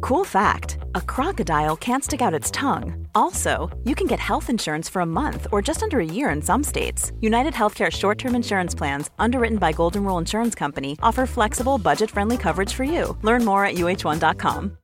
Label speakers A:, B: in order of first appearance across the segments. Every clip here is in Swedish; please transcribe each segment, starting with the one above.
A: Cool fact a crocodile can't stick out its tongue. Also, you can get health insurance for a month or just under a year in some states. United Healthcare short term insurance plans, underwritten by Golden Rule Insurance Company, offer flexible, budget friendly coverage for you. Learn more at uh1.com.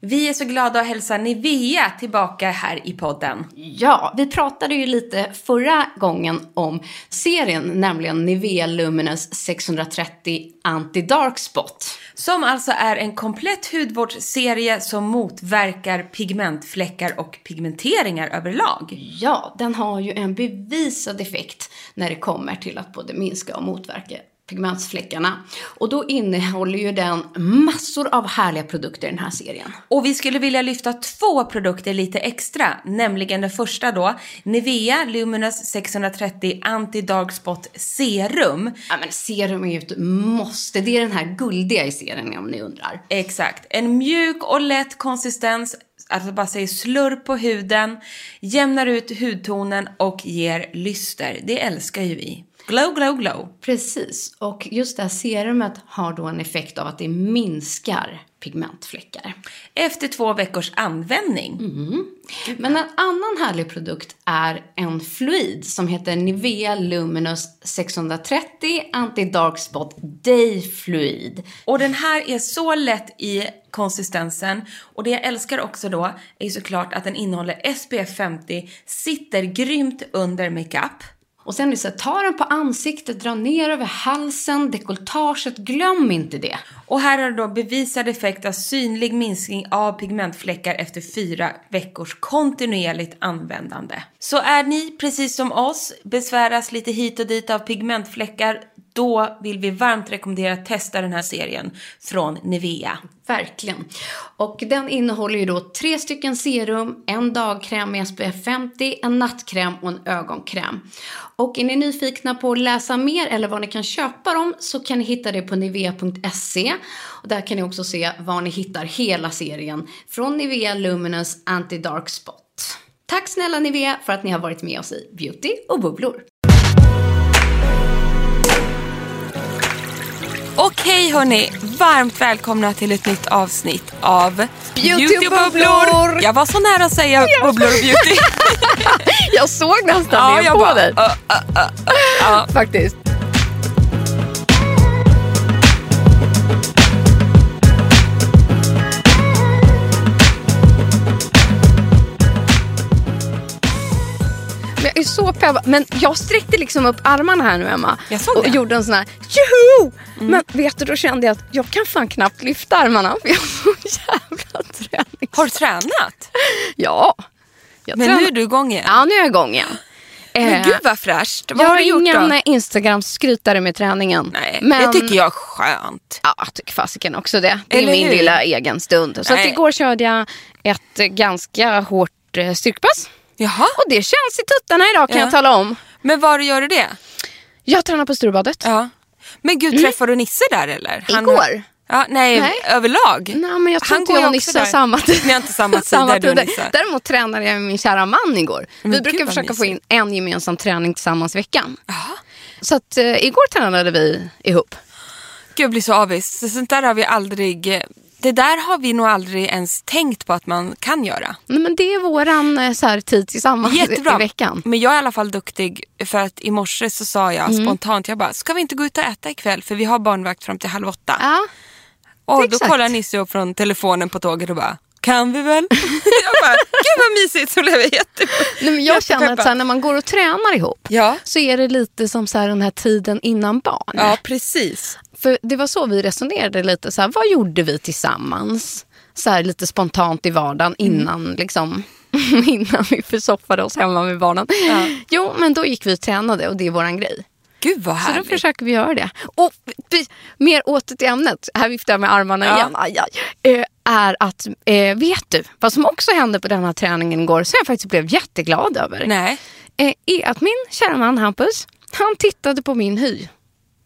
B: Vi är så glada att hälsa Nivea tillbaka här i podden.
C: Ja, vi pratade ju lite förra gången om serien, nämligen Nivea Luminous 630 Anti-Dark Spot.
B: Som alltså är en komplett hudvårdsserie som motverkar pigmentfläckar och pigmenteringar överlag.
C: Ja, den har ju en bevisad effekt när det kommer till att både minska och motverka pigmentsfläckarna. Och då innehåller ju den massor av härliga produkter i den här serien.
B: Och vi skulle vilja lyfta två produkter lite extra, nämligen den första då, Nivea Luminous 630 Anti-Dark Spot Serum.
C: Ja men serum är ju ett måste, det är den här guldiga i serien om ni undrar.
B: Exakt. En mjuk och lätt konsistens, alltså bara säger slurp på huden, jämnar ut hudtonen och ger lyster. Det älskar ju vi. Glow, glow, glow.
C: Precis, och just det här serumet har då en effekt av att det minskar pigmentfläckar.
B: Efter två veckors användning.
C: Men en annan härlig produkt är en fluid som heter Nivea Luminous 630 Anti-Dark Spot Day Fluid.
B: Och den här är så lätt i konsistensen och det jag älskar också då är ju såklart att den innehåller SPF 50, sitter grymt under makeup.
C: Och sen är det så här, ta den på ansiktet, dra ner över halsen, dekolletaget, glöm inte det.
B: Och här har du då bevisad effekt av synlig minskning av pigmentfläckar efter fyra veckors kontinuerligt användande. Så är ni precis som oss, besväras lite hit och dit av pigmentfläckar, då vill vi varmt rekommendera att testa den här serien från Nivea.
C: Verkligen. Och den innehåller ju då tre stycken serum, en dagkräm med SPF 50, en nattkräm och en ögonkräm. Och är ni nyfikna på att läsa mer eller var ni kan köpa dem så kan ni hitta det på nivea.se. Och där kan ni också se var ni hittar hela serien från Nivea Luminous Anti-Dark Spot. Tack snälla Nivea för att ni har varit med oss i Beauty och bubblor.
B: Okej hörni, varmt välkomna till ett nytt avsnitt av
D: Beauty och
B: och
D: bubblor.
B: Jag var så nära att säga bubblor och beauty.
D: Jag såg nästan det på dig
B: "Ö, ö, ö, ö." Ja.
D: faktiskt. Men jag är så peppad. Men jag sträckte liksom upp armarna här nu Emma.
B: Jag såg
D: och
B: det. Mm.
D: gjorde en sån här tjoho! Men vet du, då kände jag att jag kan fan knappt lyfta armarna för jag har så jävla träning.
B: Har du tränat?
D: Ja. Jag
B: Men
D: tränar-
B: nu är du igång igen.
D: Ja, nu är jag igång igen.
B: Men
D: Eh,
B: gud vad fräscht. Vad
D: jag
B: har du gjort
D: ingen
B: då?
D: Instagram-skrytare med träningen.
B: Nej,
D: men,
B: det tycker jag är skönt.
D: Ja, jag tycker fasiken också det. Det är
B: Eller
D: min
B: hur?
D: lilla egen stund. Så att
B: Nej.
D: igår körde jag ett eh, ganska hårt eh, styrkepass.
B: Jaha,
D: Och det känns i tuttarna idag kan
B: Ja.
D: jag tala om.
B: men var gör du det?
D: Jag tränar på Storbadet.
B: Ja. Men gud, träffade du Nisse där eller?
D: Igår?
B: Ja, nej,
D: Nej.
B: överlag.
D: Nej, men jag tror
B: Han
D: inte
B: går
D: jag
B: ju
D: och
B: också
D: Nisse har
B: där.
D: samma tid.
B: Ni har inte samma tider,
D: samma
B: du och
D: tider.
B: Nisse.
D: Däremot tränade jag med min kära man igår. vi
B: gud,
D: brukar
B: vad
D: försöka få in
B: mysigt.
D: en gemensam träning tillsammans i veckan. Så att, eh, igår tränade vi ihop.
B: Gud, jag blir så avis. Så Sånt där har vi aldrig... eh, Det där har vi nog aldrig ens tänkt på att man kan göra.
D: Nej, men det är våran eh, så här, tid tillsammans i-
B: Jättebra.
D: i veckan.
B: Men jag är i alla fall duktig för att i morse så sa jag spontant, jag bara, ska vi inte gå ut och äta ikväll för vi har barnvakt fram till halv åtta.
D: Ja.
B: Och då
C: Exakt.
B: kollar Nisse upp från telefonen på tåget och bara, kan vi väl? jag bara, gud vad mysigt, hon lever jättebra.
C: Nej, men jag känner att
B: Jättepeppad.
C: så här, när man går och tränar ihop
B: Ja.
C: så är det lite som så här, den här tiden innan barn.
B: Ja, precis.
C: För Det var så vi resonerade lite. Så här, vad gjorde vi tillsammans? Så här, lite spontant i vardagen
B: Mm.
C: innan, liksom, innan vi försoffade oss hemma med barnen. Jo, men då gick vi och tränade och det är våran grej.
B: Gud vad
C: Så då
B: härligt.
C: försöker vi göra det. Och vi- mer åter till ämnet, här viftar jag med armarna
B: Ja.
C: igen, aj, aj, Eh, är att, eh, vet du, vad som också hände på den här träningen igår som jag faktiskt blev jätteglad över,
B: Nej.
C: eh, är att min kära man Hampus, han tittade på min hy.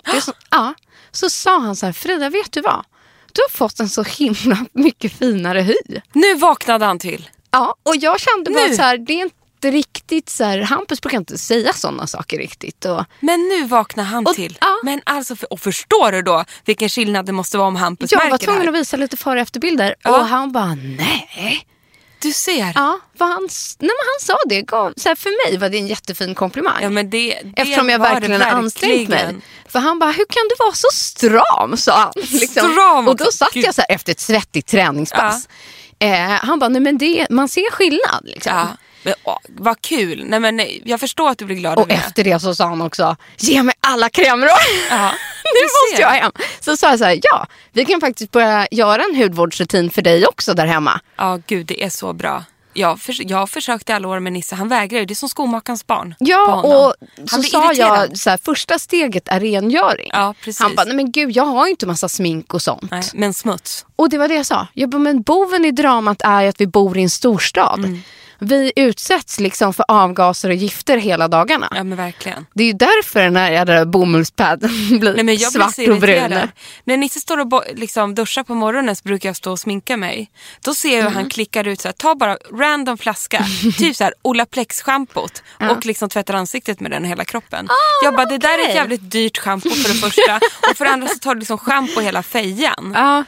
C: Det är så, ja, så sa han så här, Frida vet du vad? Du har fått en så himla mycket finare hy.
B: Nu vaknade han till.
C: Ja, och jag kände bara
B: Nu.
C: så här, det är inte riktigt så här, Hampus brukar inte säga sådana saker riktigt. Och,
B: Men nu vaknar han
C: Och-
B: till.
C: ja.
B: Men alltså, för, och förstår du då vilken skillnad det måste vara om Hampus
C: Jag var
B: märker det
C: tvungen
B: här?
C: att visa lite före och efterbilder
B: Ja.
C: och han bara nej.
B: Du ser. Ja,
C: Ja, vad han, s- nej men han sa det. Gav, så här, för mig var det en jättefin komplimang.
B: men det, det
C: Eftersom jag
B: var det
C: verkligen har ansträngt mig.
B: verkligen.
C: För han bara, hur kan du vara så stram? sa han. liksom.
B: Stram
C: Och då
B: också.
C: satt jag så här efter ett svettigt träningspass. Eh, han bara, nej men det, man ser skillnad. Liksom.
B: Ja. Men, åh, vad kul. Nej, men, nej, jag förstår att du blir glad
C: Och
B: över det.
C: efter det så sa han också, ge mig alla krämer
B: Ja,
C: Nu
B: du
C: måste
B: ser.
C: jag hem. Så sa jag så här, ja, vi kan faktiskt börja göra en hudvårdsrutin för dig också där hemma.
B: Ja, gud det är så bra. Jag, för, jag har försökt i alla år med Nisse, han vägrar ju. Det är som skomakarens barn. på
C: Ja,
B: honom.
C: och
B: Han
C: så
B: blir
C: sa
B: irriterad.
C: jag så här, första steget är rengöring.
B: Ja, precis.
C: Han bara, nej men gud jag har ju inte massa smink och sånt.
B: Nej, men smuts.
C: Och det var det jag sa. Jag bara, men boven i dramat är ju att vi bor i en storstad.
B: Mm.
C: Vi utsätts liksom för avgaser och gifter hela dagarna.
B: Ja, men verkligen.
C: Det är ju därför den här jävla bomullspadden blir
B: Nej, men jag blir
C: svart
B: så
C: och brun.
B: irriterad. När Nisse står och bo- liksom duschar på morgonen så brukar jag stå och sminka mig. Då ser jag hur
C: Mm.
B: han klickar ut, så här, ta bara random flaska, typ så här Olaplex-schampot och liksom tvättar ansiktet med den och hela kroppen. jag bara, det där är ett
C: Ah, okej.
B: jävligt dyrt schampo för det första och för det andra så tar du liksom schampo hela fejan.
C: Ja,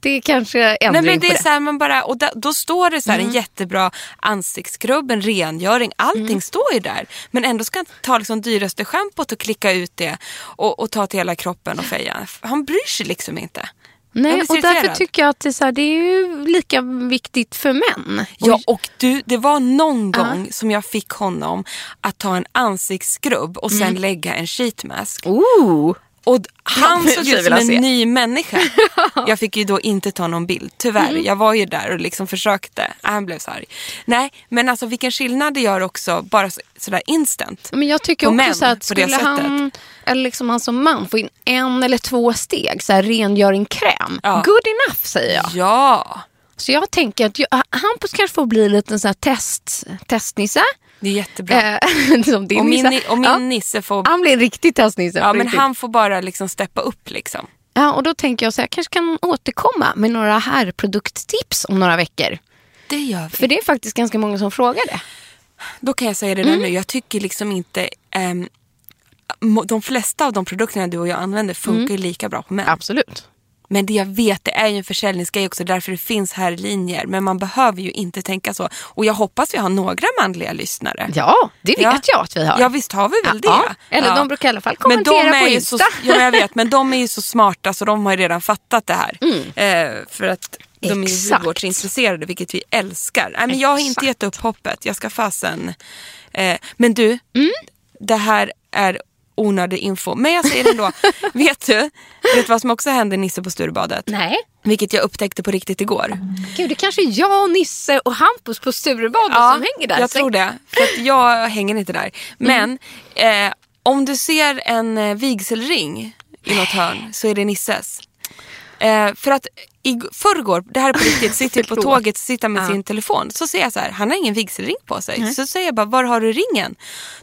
C: det är kanske ändring
B: Nej, men det
C: på
B: är
C: det. Mm.
B: så här, man bara, och da, då står det så här, en jättebra ansiktsskrubb, en rengöring, allting
C: Mm.
B: står ju där. Men ändå ska han ta liksom dyraste schampot och klicka ut det och, och ta till hela kroppen och fejan. Han bryr sig liksom inte. Jag
C: Nej,
B: blir så
C: och därför
B: irriterad.
C: tycker jag att det är, så här, det är ju lika viktigt för män.
B: Ja, och du, det var någon gång som jag fick honom att ta en ansiktsskrubb och sen
C: Mm.
B: lägga en sheetmask.
C: Ooh.
B: Och d- han
C: det
B: såg
C: skulle jag
B: ut som en
C: vilja se.
B: ny människa. Jag fick ju då inte ta någon bild, tyvärr.
C: Mm.
B: Jag var ju där och liksom försökte. Han blev så arg. Nej, men alltså vilken skillnad det gör också, bara så- sådär instant.
C: Men jag tycker
B: På
C: också
B: män,
C: så här att
B: på det
C: skulle han,
B: sättet.
C: eller liksom han som man få in en eller två steg, så här rengöring kräm,
B: Ja.
C: good enough säger jag.
B: Ja,
C: Så jag tänker att jag, Hampus kanske får bli en liten så här test, testnisse.
B: det är jättebra.
C: Eh, som din
B: och min,
C: nisse.
B: ni- och min
C: Ja.
B: nisse får,
C: Han blir en riktig testnisse.
B: ja,
C: på
B: men
C: riktigt.
B: han får bara liksom steppa upp liksom.
C: ja, och då tänker jag så här, jag kanske kan återkomma med några herrprodukttips om några veckor.
B: Det gör vi.
C: För det är faktiskt ganska många som frågar det.
B: Då kan jag säga det där
C: Mm.
B: nu. Jag tycker liksom inte... ehm, må- de flesta av de produkterna du och jag använder funkar
C: Mm.
B: ju lika bra på män.
C: Absolut.
B: Men det jag vet, det är ju en försäljningsgrej också. Därför det finns här linjer. Men man behöver ju inte tänka så. Och jag hoppas vi har några manliga lyssnare.
C: Ja, det vet
B: Ja.
C: jag att vi har.
B: Ja, visst har vi väl
C: Ja,
B: det?
C: eller
B: ja.
C: de brukar i alla fall
B: Men de
C: kommentera
B: är
C: på
B: ju
C: Insta.
B: Så, ja, jag vet, men de är ju så smarta så de har ju redan fattat det här. Eh, för att de är ju
C: Mm. Exakt.
B: hudvårdsintresserade, vilket vi älskar. Nej, men jag har inte
C: Exakt.
B: gett upp hoppet. Jag ska fasen... Eh, men du,
C: Mm.
B: det här är onödig info. Men jag säger det ändå. vet du vet du vad som också hände Nisse på Sturebadet?
C: Nej.
B: Vilket jag upptäckte på riktigt igår.
C: Gud, det kanske är jag, och Nisse och Hampus på Sturebadet som hänger där.
B: Jag
C: Så-
B: tror det. För att jag hänger inte där. Men eh, om du ser en eh, vigselring i något hörn så är det Nisses. Eh, för att i förrgår, det här är på riktigt, sitter jag på tåget och sitter med sin telefon. Så ser jag så här, han har ingen vigselring på sig. Så säger jag bara, var har du ringen?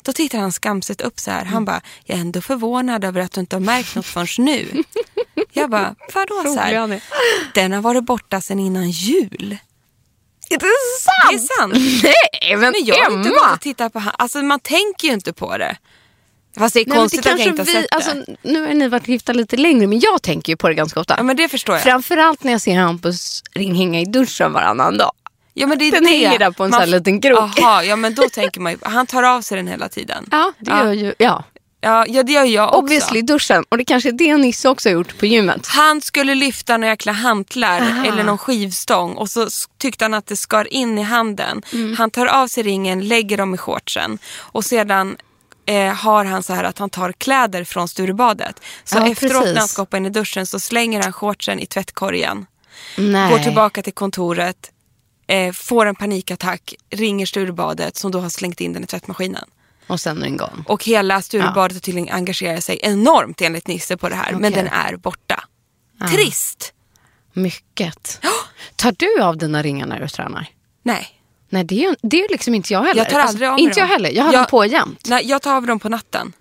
B: Då tittar han skamset upp så här.
C: Mm.
B: Han bara, jag är ändå förvånad över att du inte har märkt något förrän nu. jag bara, vadå så
C: Rolig han
B: här?
C: är.
B: Den har varit borta sedan innan jul.
C: Är det sant?
B: Det är sant.
C: Nej, men,
B: Men jag har inte gått
C: Emma!
B: och tittat på han. Alltså man tänker ju inte på det. Fast det är
C: Nej, men det
B: konstigt att
C: kanske
B: jag inte har
C: vi,
B: sett det.
C: alltså, nu har ni varit gifta lite längre, men jag tänker ju på det ganska ofta.
B: Ja men det förstår jag.
C: Framförallt när jag ser Hampus ring hänga i duschen varannan dag.
B: ja, men det är
C: den
B: det.
C: hänger där på en
B: Man-
C: sån här liten krok.
B: Jaha, ja men då tänker man ju, han tar av sig den hela tiden.
C: Ja, det
B: Ja.
C: gör ju... Ja.
B: Ja, ja det gör jag också.
C: Obviously duschen. Och det kanske är det Nisse också har gjort på gymmet.
B: Han skulle lyfta några jäkla hantlar eller någon skivstång och så s- tyckte han att det skar in i handen.
C: Mm.
B: Han tar av sig ringen, lägger dem i shortsen och sedan eh, har han så här att han tar kläder från Sturebadet. Så
C: Ja,
B: efteråt när han
C: precis.
B: ska hoppa in i duschen så slänger han shortsen i tvättkorgen,
C: Nej.
B: går tillbaka till kontoret, eh, får en panikattack, ringer Sturebadet som då har slängt in den i tvättmaskinen.
C: Och sen är den gone.
B: Och hela Sturebadet har tydligen engagerat sig enormt enligt Nisse på det här. Men
C: Okej.
B: den är borta. Trist!
C: Mycket. Tar du av dina ringar när du tränar?
B: Nej.
C: Nej, det är ju det är ju liksom inte jag heller.
B: Jag tar aldrig av mig
C: Inte
B: dem.
C: jag heller. Jag har dem på jämt.
B: Nej, jag tar av dem på natten.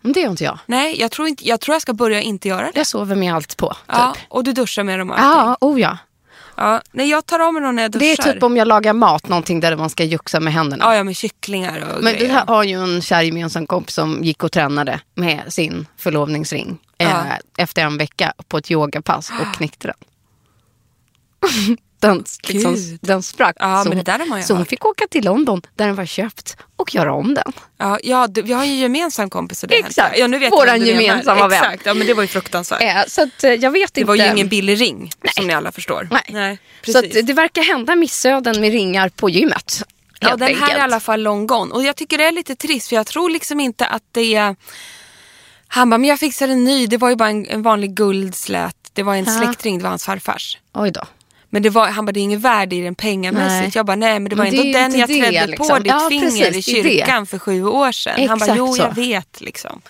C: Men det gör inte jag.
B: Nej, jag tror, inte, jag tror jag ska börja inte göra det.
C: Jag sover med allt på. Typ.
B: Ja, och du duschar med dem och allting.
C: ja, oh ja.
B: ja. Nej, jag tar av mig dem när jag duschar.
C: Det är typ om jag lagar mat, någonting där man ska juxa med händerna.
B: Ja, ja, med kycklingar och
C: Men
B: grejer.
C: vi har ju en kär gemensam kompis som gick och tränade med sin förlovningsring eh,
B: Ja.
C: efter en vecka på ett yogapass och knäckte den. den, liksom,
B: Gud.
C: den sprack.
B: Ja,
C: så
B: men
C: hon-
B: det där har man ju
C: så hon
B: hört.
C: fick åka till London där den var köpt och göra om den.
B: Ja, ja, du, vi har ju en gemensam kompis och det har hänt.
C: Exakt.
B: Ja, nu vet
C: Våran
B: jag vad du menar.
C: gemensamma vän.
B: Exakt, ja men det var ju fruktansvärt.
C: Eh, så att, eh, jag vet
B: det
C: inte.
B: var ju ingen billig ring som ni alla förstår.
C: Nej. så att,
B: precis.
C: det verkar hända missöden med ringar på gymmet.
B: Ja,
C: helt
B: den här är i
C: enkelt.
B: alla fall long gone. Och jag tycker det är lite trist för jag tror liksom inte att det är... Han bara, men jag fixar en ny. Det var ju bara en, en vanlig guldslät. Det var en
C: Ja.
B: släktring, det var hans farfars.
C: Oj då.
B: Men det var, han bara, det är ingen värde i den
C: Nej.
B: pengamässigt. Jag bara, nej men det var
C: Men det är
B: ändå
C: ju
B: den
C: inte
B: jag
C: det,
B: trädde på
C: liksom.
B: ditt
C: Ja,
B: finger
C: precis,
B: i
C: det är det.
B: kyrkan för sju år sedan. han bara,
C: Exakt
B: jo
C: så. Mm.
B: jag vet liksom.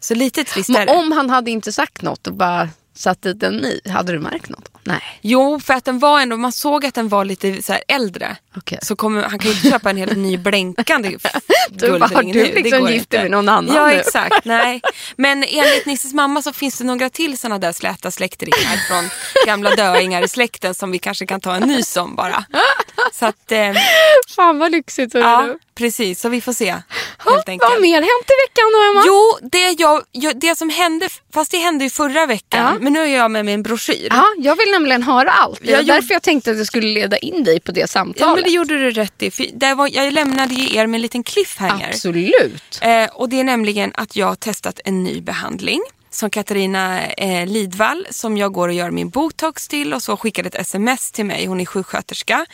B: Så lite trist är
C: Men
B: det.
C: om han hade inte sagt något och bara satt dit en ny, hade du märkt något? Nej.
B: Jo, för att den var ändå, man såg att den var lite så här äldre.
C: Okej.
B: Så kommer, han kan ju inte köpa en helt ny blänkande f-
C: Du bara, har
B: guldring
C: du
B: nu. Det
C: liksom
B: går
C: gift dig
B: inte.
C: med någon annan
B: Ja,
C: nu?
B: exakt. Nej. Men enligt Nisses mamma så finns det några till sådana där släta släktringar från gamla döingar i släkten som vi kanske kan ta en ny som bara. Så att, eh,
C: Fan vad lyxigt. hörru
B: ja,
C: du.
B: precis. Så vi får se
C: Ha,
B: helt
C: vad har
B: enkelt.
C: mer hänt i veckan då Emma?
B: Jo, det, jag, jag, det som hände, fast det hände ju förra veckan,
C: Ja.
B: men nu är jag med mig en broschyr.
C: Ja, jag vill nämligen höra allt. Det var
B: Jag gjorde-
C: därför jag tänkte att jag skulle leda in dig på det samtalet.
B: Ja, men det gjorde du rätt i. För där var, jag lämnade ju er med en liten cliffhanger.
C: Absolut.
B: Eh, och det är nämligen att jag har testat en ny behandling som Katarina eh, Lidvall, som jag går och gör min botox till och så skickade ett sms till mig. Hon är sjuksköterska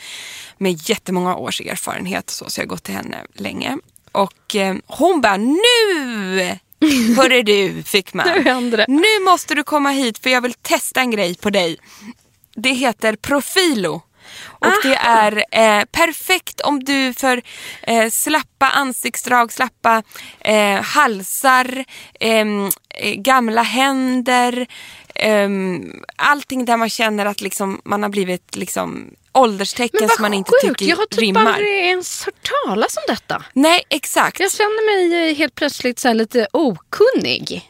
B: med jättemånga års erfarenhet så, så jag har gått till henne länge. Och eh, hon bara nu! Hörru du, fick man.
C: Nu händer det.
B: Nu måste du komma hit för jag vill testa en grej på dig. Det heter Profilo. Och det är eh, perfekt om du för eh, slappa ansiktsdrag, slappa eh, halsar, ehm, eh, gamla händer, ehm, allting där man känner att liksom, man har blivit liksom, ålderstecken
C: Men
B: som
C: vad
B: man inte
C: sjukt,
B: tycker
C: jag har typ
B: rimmar.
C: aldrig ens hört talas om detta.
B: Nej, exakt.
C: Jag känner mig eh, helt plötsligt så här lite okunnig.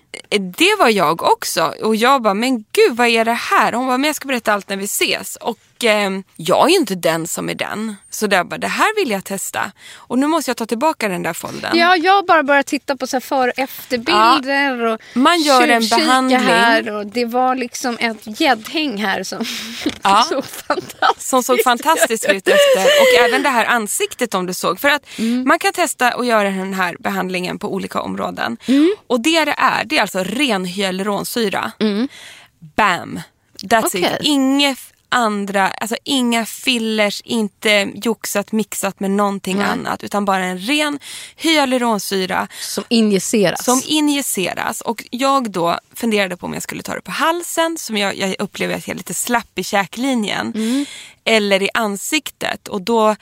B: det var jag också. Och jag bara, men gud vad är det här? Hon bara, men jag ska berätta allt när vi ses. Och ehm, jag är ju inte den som är den. Så där bara, det här vill jag testa. Och nu måste jag ta tillbaka den där foldern.
C: Ja, jag har bara börjat titta på så här för och efterbilder och
B: Man gör en
C: tjuvkika
B: behandling.
C: här och det var liksom ett gäddhäng här som
B: Ja.
C: såg fantastiskt
B: Som såg fantastiskt ut efter. Och även det här ansiktet om du såg. För att man kan testa och göra den här behandlingen på olika områden. Och det det är, det är alltså ren hyaluronsyra. Bam! That's
C: Okej.
B: it. Inga f- andra, alltså inga fillers, inte joxat, mixat med någonting annat. Utan bara en ren hyaluronsyra
C: Som injiceras.
B: som injiceras. Och jag då funderade på om jag skulle ta det på halsen, som jag, jag upplever att jag är lite slapp i käklinjen.
C: Mm.
B: Eller i ansiktet. Och då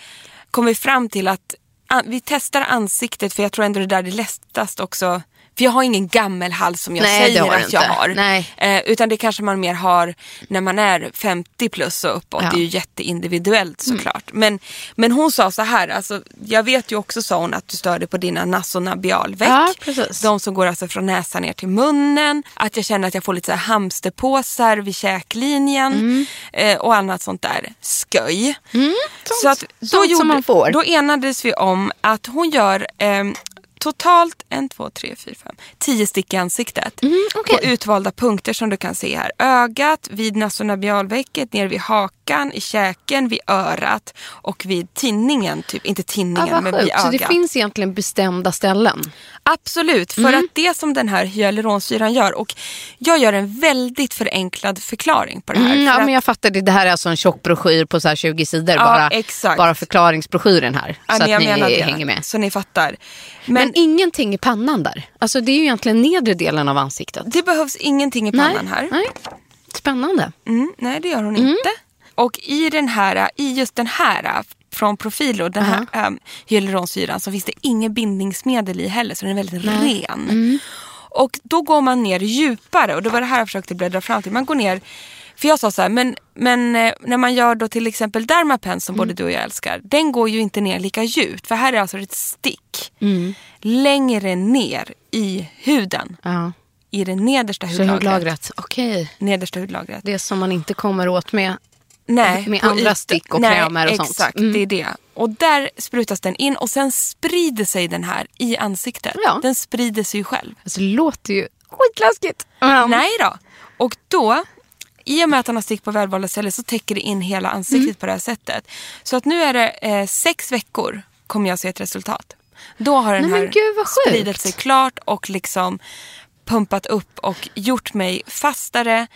B: kom vi fram till att an- vi testar ansiktet för jag tror ändå det där är lättast också. För jag har ingen gammelhals som jag
C: Nej, det
B: säger
C: har du
B: att jag
C: inte.
B: har.
C: Nej.
B: Eh, utan det kanske man mer har när man är 50 plus och uppåt.
C: Ja. Mm.
B: Det är ju jätteindividuellt såklart. Men, men hon sa så här, alltså, jag vet ju också sa hon att du störde på dina nasonabialveck.
C: Ja, precis.
B: De som går alltså från näsan ner till munnen. Att jag känner att jag får lite så här hamsterpåsar vid käklinjen.
C: Mm.
B: Eh, och annat sånt där sköj. så att,
C: sånt Mm, som man får.
B: Då enades vi om att hon gör eh, totalt en, två, tre, fyra, fem, tio stick i ansiktet.
C: Mhm,
B: På utvalda punkter som du kan se här. Ögat, vid nasonabialvecket, ner vid hakan, i käken, vid örat och vid tinningen. Typ. Inte tinningen,
C: Ja,
B: men
C: Ah, vad
B: vid
C: sjukt. Så
B: ögat.
C: det finns Mhm. egentligen bestämda ställen.
B: Absolut, för att det som den här hyaluronsyran gör och jag gör en väldigt förenklad förklaring på det här.
C: Mm,
B: för
C: ja,
B: att-
C: men jag fattar, det, det här är alltså en tjock broschyr på så här 20 sidor.
B: Ja,
C: bara,
B: exakt.
C: bara förklaringsbroschyren här.
B: Ja,
C: så
B: men
C: att
B: jag
C: ni
B: menar det.
C: hänger med.
B: Så ni fattar. Men,
C: Men, ingenting i pannan där. Alltså det är ju egentligen nedre delen av ansiktet.
B: det behövs ingenting i pannan
C: nej,
B: här.
C: Nej. Spännande.
B: Mm, nej, det gör hon inte. Och i, den här, i just den här från Profilo, den här um, hyaluronsyran, så finns det inget bindningsmedel i heller så den är väldigt ren. Och då går man ner djupare och det var det här jag försökte bläddra fram till. Man går ner, för jag sa så här, men, men eh, när man gör då till exempel Dermapen som både du och jag älskar, den går ju inte ner lika djupt för här är alltså ett stick längre ner i huden.
C: Ja.
B: I det nedersta
C: Så
B: hudlagret.
C: hudlagret, okej.
B: Nedersta hudlagret.
C: Det som man inte kommer åt med.
B: Nej,
C: Alltså, Med
B: på
C: andra
B: ytan.
C: stick och
B: Nej,
C: krämer och sånt.
B: Exakt,
C: Mm.
B: det är det. Och där sprutas den in och sen sprider sig den här i ansiktet.
C: Ja.
B: Den sprider sig ju själv.
C: Alltså det låter ju skitläskigt. Men-
B: Nej då. Och då, i och med att han har stick på välvalda celler så täcker det in hela ansiktet
C: Mm.
B: på det här sättet. Så att nu är det eh, sex veckor kommer jag se ett resultat. Då har den
C: Nej, men
B: här
C: gud, vad sjukt.
B: spridit sig klart och liksom pumpat upp och gjort mig fastare.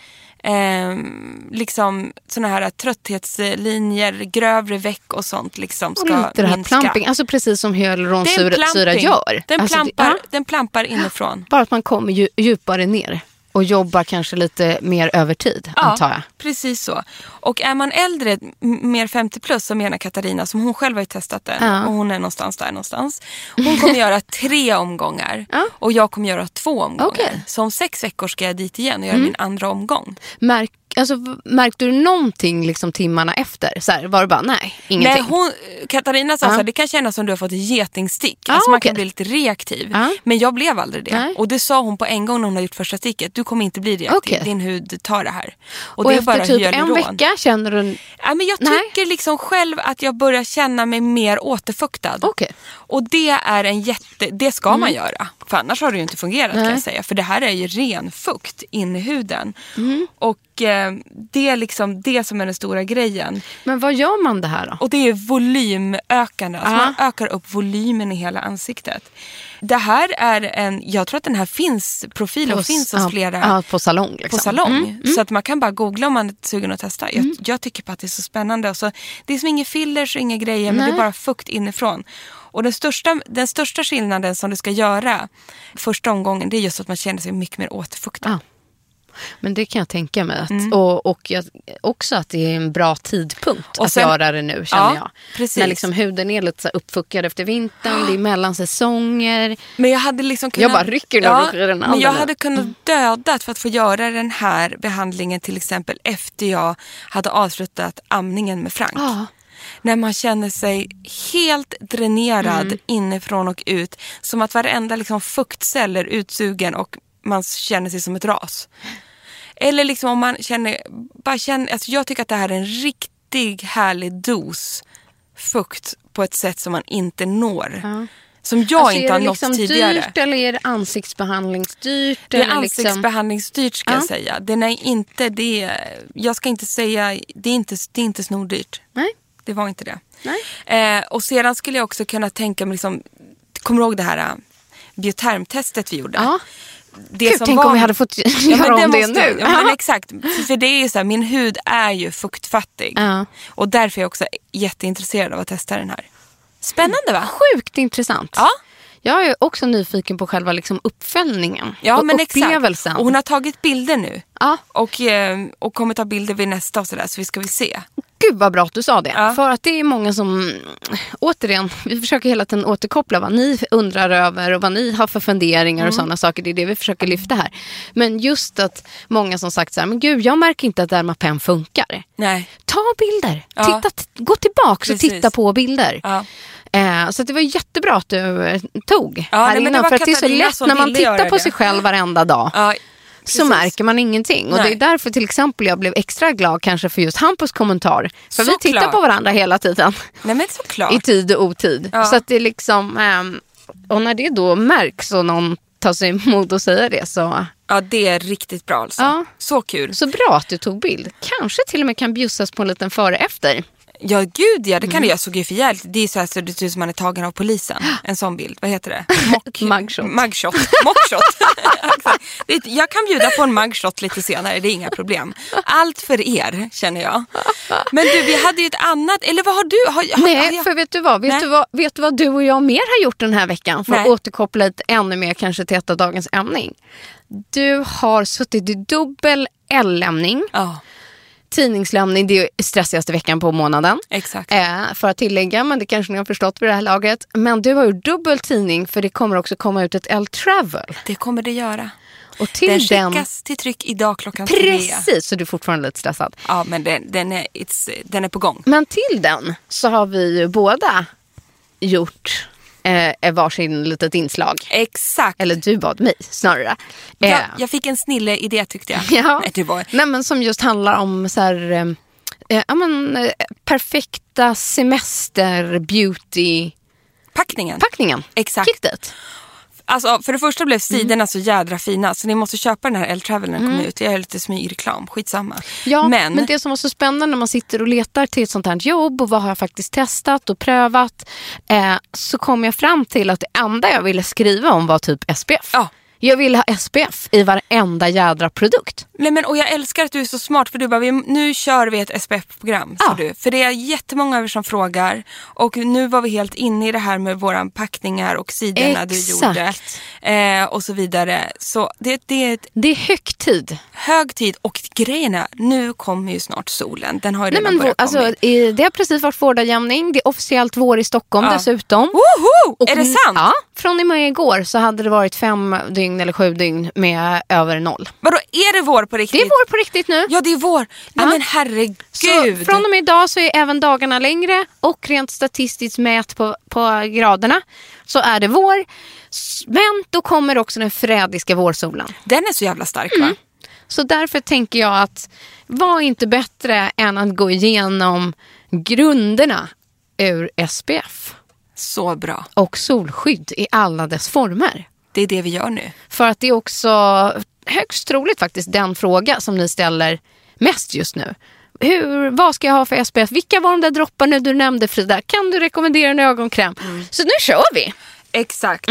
B: ehm, liksom såna här trötthetslinjer, grövre veck och sånt liksom
C: Och
B: ska
C: lite det här
B: minska.
C: plumping, alltså precis som
B: Det är en
C: hyaluronsyra
B: plumping.
C: gör.
B: Den,
C: alltså, det-
B: plampar,
C: ja.
B: den plampar inifrån.
C: Bara att man kommer ju, djupare ner och jobbar kanske lite mer över tid, antar jag.
B: precis så. Och är man äldre, m- mer 50 plus som menar Katarina, som hon själv har ju testat den
C: Ja.
B: och hon är någonstans där någonstans. Hon kommer göra tre omgångar
C: Ja.
B: och jag kommer göra två omgångar.
C: Okej. Mm.
B: Så om sex veckor ska jag dit igen och göra min andra omgång.
C: Märk, alltså, v- märkte du någonting liksom timmarna efter? Så här, var det bara nej, ingenting?
B: Nej, hon, Katarina sa
C: Ja.
B: så här, det kan kännas som du har fått ett getingstick.
C: Ah,
B: alltså man
C: okej.
B: kan bli lite reaktiv.
C: Ja.
B: Men jag blev aldrig det.
C: Nej.
B: Och det sa hon på en gång när hon har gjort första sticket. Du kommer inte bli reaktiv,
C: Okej.
B: din hud tar det här.
C: och
B: det är
C: efter
B: bara
C: typ en
B: hyaluron.
C: vecka känner du...
B: Ja, men jag
C: Nej.
B: tycker liksom själv att jag börjar känna mig mer återfuktad.
C: Okej. Mm.
B: Och det är en jätte... Det ska man göra. För annars har det ju inte fungerat kan jag säga. För det här är ju ren fukt in i huden.
C: Mm.
B: Och eh, det är liksom det som är den stora grejen.
C: Men vad gör man det här då?
B: Och det är volymökande. Alltså
C: Ja.
B: Man ökar upp volymen i hela ansiktet. Det här är en... Jag tror att den här finns, profilen
C: Hos-
B: finns hos
C: ja,
B: flera
C: ja, på salong. Liksom.
B: på salong.
C: Mm.
B: Så att man kan bara googla om man är sugen att testa. Jag, jag tycker på att det är så spännande. Och så, det är som inga fillers och inga grejer men det är bara fukt inifrån. Och den största, den största skillnaden som du ska göra första omgången det är just att man känner sig mycket mer återfuktad.
C: Ja. Men det kan jag tänka mig. Att,
B: Mm.
C: Och, och jag, också att det är en bra tidpunkt
B: Och
C: att
B: sen-
C: göra det nu känner
B: Ja,
C: jag.
B: precis.
C: När liksom huden är lite så här uppfuckad efter vintern, det är mellansäsonger.
B: Men jag hade liksom kunnat,
C: Jag bara rycker nu och rycker i den andra
B: Men jag
C: nu.
B: hade kunnat dödat för att få göra den här behandlingen till exempel efter jag hade avslutat amningen med Frank.
C: Ja.
B: När man känner sig helt dränerad
C: Mm.
B: inifrån och ut. Som att varenda liksom, fuktcell är utsugen och man känner sig som ett ras. Eller liksom om man känner, bara känner, alltså jag tycker att det här är en riktig härlig dos fukt på ett sätt som man inte når. Som jag
C: Alltså,
B: inte
C: är
B: har
C: det
B: nått
C: liksom
B: tidigare.
C: dyrt eller är det ansiktsbehandlingsdyrt?
B: Det är
C: eller liksom...
B: ansiktsbehandlingsdyrt ska jag
C: Ja.
B: säga. Den är inte det, jag ska inte säga, det är inte, det är inte snordyrt.
C: Nej.
B: Det var inte det.
C: Nej.
B: Eh, och sedan skulle jag också kunna tänka mig, liksom, kommer du ihåg det här eh, biotermtestet vi gjorde?
C: Ja.
B: Det
C: Gud, tänk om vi hade fått
B: Ja, men
C: göra om det
B: måste-
C: nu.
B: Ja, men exakt. För- För det är ju så här, min hud är ju fuktfattig.
C: Ja.
B: Och därför är jag också jätteintresserad av att testa den här. Spännande va?
C: Sjukt intressant.
B: Ja.
C: Jag är också nyfiken på själva liksom uppföljningen
B: Ja,
C: och
B: men
C: upplevelsen.
B: exakt. Och hon har tagit bilder nu.
C: Ja.
B: Och, eh, och kommer ta bilder vid nästa och sådär, så vi ska vi se.
C: Gud vad bra att du sa det.
B: Ja.
C: För att det är många som, återigen, vi försöker hela tiden återkoppla vad ni undrar över och vad ni har för funderingar
B: Mm.
C: och sådana saker. Det är det vi försöker lyfta här. Men just att många som sagt så här, men gud jag märker inte att Dermapen funkar.
B: Nej.
C: Ta bilder,
B: Ja.
C: titta, t- gå tillbaka och
B: Precis.
C: titta på bilder.
B: Ja.
C: Eh, så att det var jättebra att du eh, tog
B: Ja,
C: här
B: nej, men det
C: innan.
B: var
C: För att det är så
B: Katarina
C: lätt
B: som
C: när man
B: ville
C: tittar
B: göra
C: på
B: det.
C: sig själv varenda dag
B: Ja,
C: så märker man ingenting. Och
B: Nej.
C: Det är därför till exempel jag blev extra glad kanske för just Hampus kommentar. För vi
B: Såklart.
C: tittar på varandra hela tiden,
B: Nej men såklart.
C: i tid och otid.
B: Ja.
C: Så att det är liksom, ehm, Och när det då märks och någon tar sig emot och säger det så,
B: Ja, det är riktigt bra alltså.
C: Ja.
B: Så kul.
C: så bra att du tog bild. Kanske till och med kan bjussas på en liten före efter.
B: Ja, gud ja. Det kan
C: Mm.
B: det. Jag såg ju för jävligt. Det är så här så det ser ut som man är tagen av polisen. En sån bild. Vad heter det? Mock...
C: Mugshot.
B: Mugshot. Mockshot. Exakt. Det är- jag kan bjuda på en mugshot lite senare. Det är inga problem. Allt för er, känner jag. Men du, vi hade ju ett annat. Eller vad har du? Har, har, har
C: Nej,
B: jag-
C: för vet du, vad? Vet,
B: Nej.
C: du vad, vet du vad du och jag mer har gjort den här veckan? För att
B: Nej.
C: återkoppla lite ännu mer kanske till ett av dagens ämning. Du har suttit i dubbel L-lämning,
B: Ja,
C: tidningslämning, det är ju stressigaste veckan på månaden.
B: exakt.
C: Eh, för att tillägga, men det kanske ni har förstått vid det här laget. Men du har ju dubbel tidning för det kommer också komma ut ett L-travel.
B: Det kommer det göra.
C: Och
B: Den
C: till den...
B: skickas till tryck idag klockan tre.
C: Precis, så du är fortfarande lite stressad.
B: Ja, men den, den, är, it's, den är på gång.
C: Men till den så har vi ju båda gjort eh, varsin litet inslag.
B: Exakt.
C: Eller du bad mig snarare. Eh,
B: jag, jag fick en snille idé tyckte jag.
C: ja.
B: Nej, det var,
C: Nej, men som just handlar om så här, eh, eh, ja, men, eh, perfekta semester beauty-packningen.
B: packningen. Exakt.
C: Kittet.
B: Alltså, för det första blev
C: Mm.
B: sidorna så jädra fina så ni måste köpa den här L-Travel när den kommer ut. Jag gör lite smygreklam, skitsamma.
C: Ja, men,
B: men,
C: det som var så spännande när man sitter och letar till ett sånt här jobb och vad har jag faktiskt testat och prövat eh, så kom jag fram till att det enda jag ville skriva om var typ SPF.
B: Ja.
C: Jag ville ha SPF i varenda jädra produkt.
B: nej, men, och jag älskar att du är så smart för du bara, vi, nu kör vi ett SPF-program. sa
C: Ja.
B: Du. För det är jättemånga av er som frågar och nu var vi helt inne i det här med våra packningar och sidorna du gjorde.
C: Exakt.
B: Eh, och så vidare. Så det, det är ett
C: Det är hög tid.
B: hög tid och grejen är, nu kommer ju snart solen. Den har ju
C: Nej,
B: redan
C: men, vår-
B: börjat
C: alltså,
B: komma in.
C: eh, det har precis varit vårdagjämning. Det är officiellt vår i Stockholm
B: Ja.
C: dessutom.
B: Woho!
C: Och
B: är det
C: n-
B: sant?
C: Ja, från i morgon igår så hade det varit fem dygn eller sju dygn med över noll.
B: Vadå, är det vår på
C: Det
B: riktigt?
C: är vår på riktigt nu.
B: Ja, det är vår. Nej,
C: Ja.
B: men herregud.
C: Så från och med idag så är även dagarna längre och rent statistiskt mätt på, på graderna så är det vår. S- Men då kommer också den frädiska vårsolen.
B: Den är så jävla stark
C: Mm.
B: va?
C: Så därför tänker jag att var inte bättre än att gå igenom grunderna ur SPF
B: Så bra.
C: och solskydd i alla dess former.
B: Det är det vi gör nu.
C: För att det är också högst troligt faktiskt den fråga som ni ställer mest just nu. Hur, vad ska jag ha för SPF? Vilka var de där dropparna du nämnde Frida? Kan du rekommendera en ögonkräm? Så nu kör vi!
B: Exakt.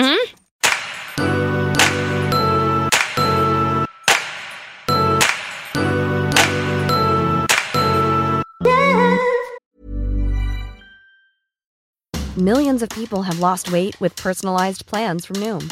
E: Millions of people have lost weight with personalized plans from Noom,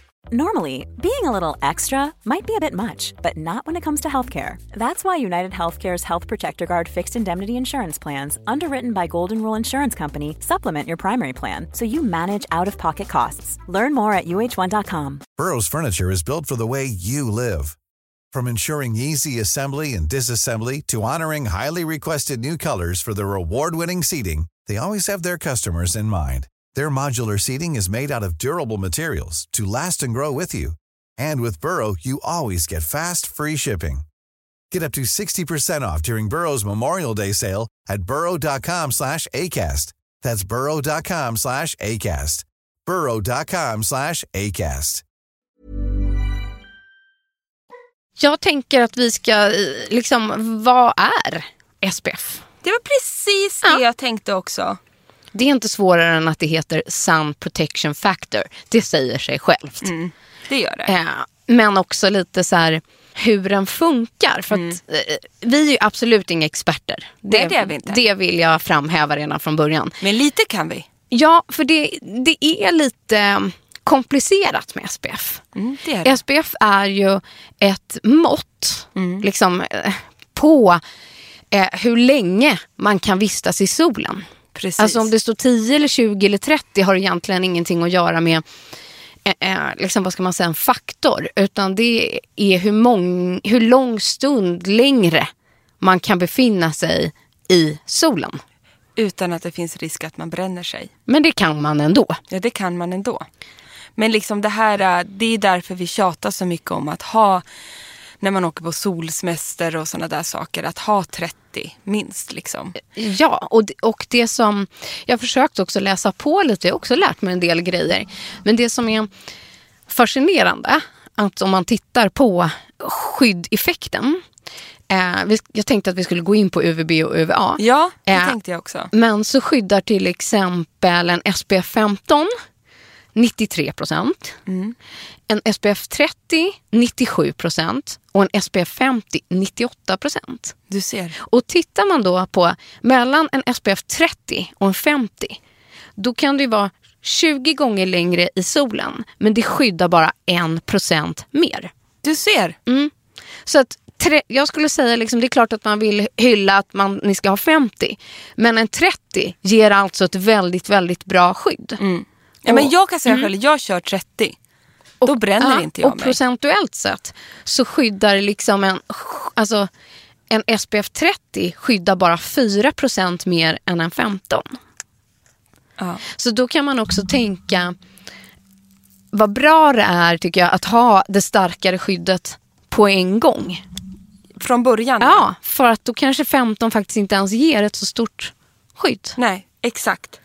A: Normally, being a little extra might be a bit much, but not when it comes to healthcare. That's why United Healthcare's Health Protector Guard fixed indemnity insurance plans, underwritten by Golden Rule Insurance Company, supplement your primary plan so you manage out of pocket costs. Learn more at uh1.com.
F: Burrow's furniture is built for the way you live. From ensuring easy assembly and disassembly to honoring highly requested new colors for their award-winning seating, they always have their customers in mind. Their modular seating is made out of durable materials to last and grow with you. And with Burrow, you always get fast, free shipping. Get up to 60% off during Burrow's Memorial Day sale at burrow.com slash ACAST. That's burrow.com slash ACAST. burrow.com slash ACAST.
C: Jag tänker att vi ska, eh, liksom, vad är SPF?
B: Det var precis det
C: Ja.
B: jag tänkte också.
C: Det är inte svårare än att det heter Sun Protection Factor. Det säger sig självt.
B: Det gör det.
C: Eh, men också lite så här hur den funkar. För att, eh, vi är ju absolut inga experter.
B: Mm. Nej, det är vi inte.
C: det vill jag framhäva redan från början.
B: Men lite kan vi.
C: Ja, för det, det är lite komplicerat med SPF.
B: Mm, det är det.
C: SPF är ju ett mått
B: Mm.
C: liksom, eh, på eh, hur länge man kan vistas i solen.
B: Precis.
C: Alltså om det står 10 eller 20 eller 30 har egentligen ingenting att göra med eh, eh, liksom, vad ska man säga, en faktor utan det är hur, mång, hur lång stund längre man kan befinna sig i solen.
B: Utan att det finns risk att man bränner sig.
C: Men det kan man ändå.
B: Ja, det kan man ändå. Men liksom det här, eh, det är därför vi tjatar så mycket om att ha, när man åker på solsemester och sådana där saker, att ha 30 minst. Liksom.
C: Ja, och, det- och det som... Jag har försökt också läsa på lite. Jag har också lärt mig en del grejer. Men det som är fascinerande, att om man tittar på skyddeffekten. Eh, vi- jag tänkte att vi skulle gå in på UVB och UVA.
B: Ja, det
C: Eh,
B: tänkte jag också.
C: Men så skyddar till exempel en SPF 15 93 procent.
B: Mm.
C: En SPF 30 97 procent. Och en SPF 50 98 procent.
B: Du ser.
C: Och tittar man då på mellan en SPF 30 och en 50 då kan det ju vara 20 gånger längre i solen men det skyddar bara 1% mer.
B: Du ser.
C: Så att tre, jag skulle säga liksom, det är klart att man vill hylla att man, ni ska ha 50 men en 30 ger alltså ett väldigt väldigt bra skydd.
B: Mm. Ja, men jag kan säga själv, jag kör 30. Då bränner
C: Ja,
B: inte jag
C: Mm. och
B: mig.
C: procentuellt sett så skyddar liksom en, alltså, en SPF 30 skyddar bara 4% mer än en 15.
B: Ja.
C: Så då kan man också tänka vad bra det är tycker jag att ha det starkare skyddet på en gång.
B: Från början.
C: Ja, för att då kanske 15 faktiskt inte ens ger ett så stort skydd.
B: Nej, exakt.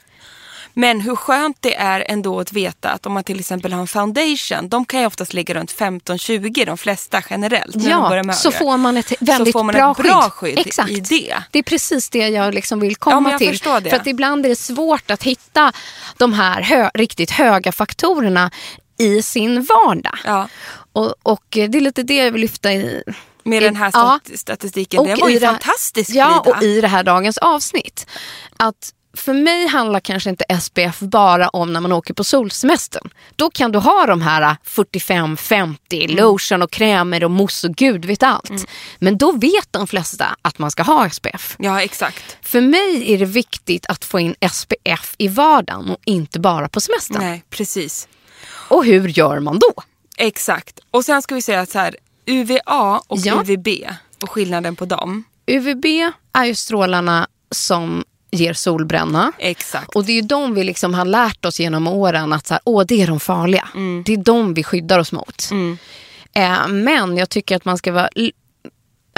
B: Men hur skönt det är ändå att veta att om man till exempel har en foundation, de kan ju oftast ligga runt 15-20 de flesta generellt. när de börjar
C: Ja,
B: med
C: så
B: ögonen.
C: får man ett väldigt
B: så får man
C: bra,
B: ett bra skydd,
C: Exakt.
B: i det.
C: är precis det jag liksom vill
B: Ja,
C: komma
B: men jag
C: till.
B: förstår det.
C: För att ibland är det svårt att hitta de här hö riktigt höga faktorerna i sin vardag.
B: Ja.
C: Och, och det är lite det jag vill lyfta i.
B: Med
C: i-
B: den här
C: ja.
B: stat- statistiken. Den var
C: i
B: ju
C: det här-
B: fantastisk
C: Ja,
B: Frida.
C: och i det här dagens avsnitt. Att för mig handlar kanske inte SPF bara om när man åker på solsemestern. Då kan du ha de här ah, 45-50,
B: Mm.
C: lotion och krämer och mousse och gud vet allt. Men då vet de flesta att man ska ha SPF.
B: Ja, exakt.
C: För mig är det viktigt att få in SPF i vardagen och inte bara på semestern.
B: Nej, precis.
C: Och hur gör man då?
B: Exakt. Och sen ska vi säga att så här, UVA och
C: Ja.
B: UVB och skillnaden på dem.
C: UVB är ju strålarna som ger solbränna.
B: Exakt.
C: Och det är ju de vi liksom har lärt oss genom åren att så här, Åh, det är de farliga.
B: Mm.
C: Det är de vi skyddar oss mot. Eh, men jag tycker att man ska vara, l-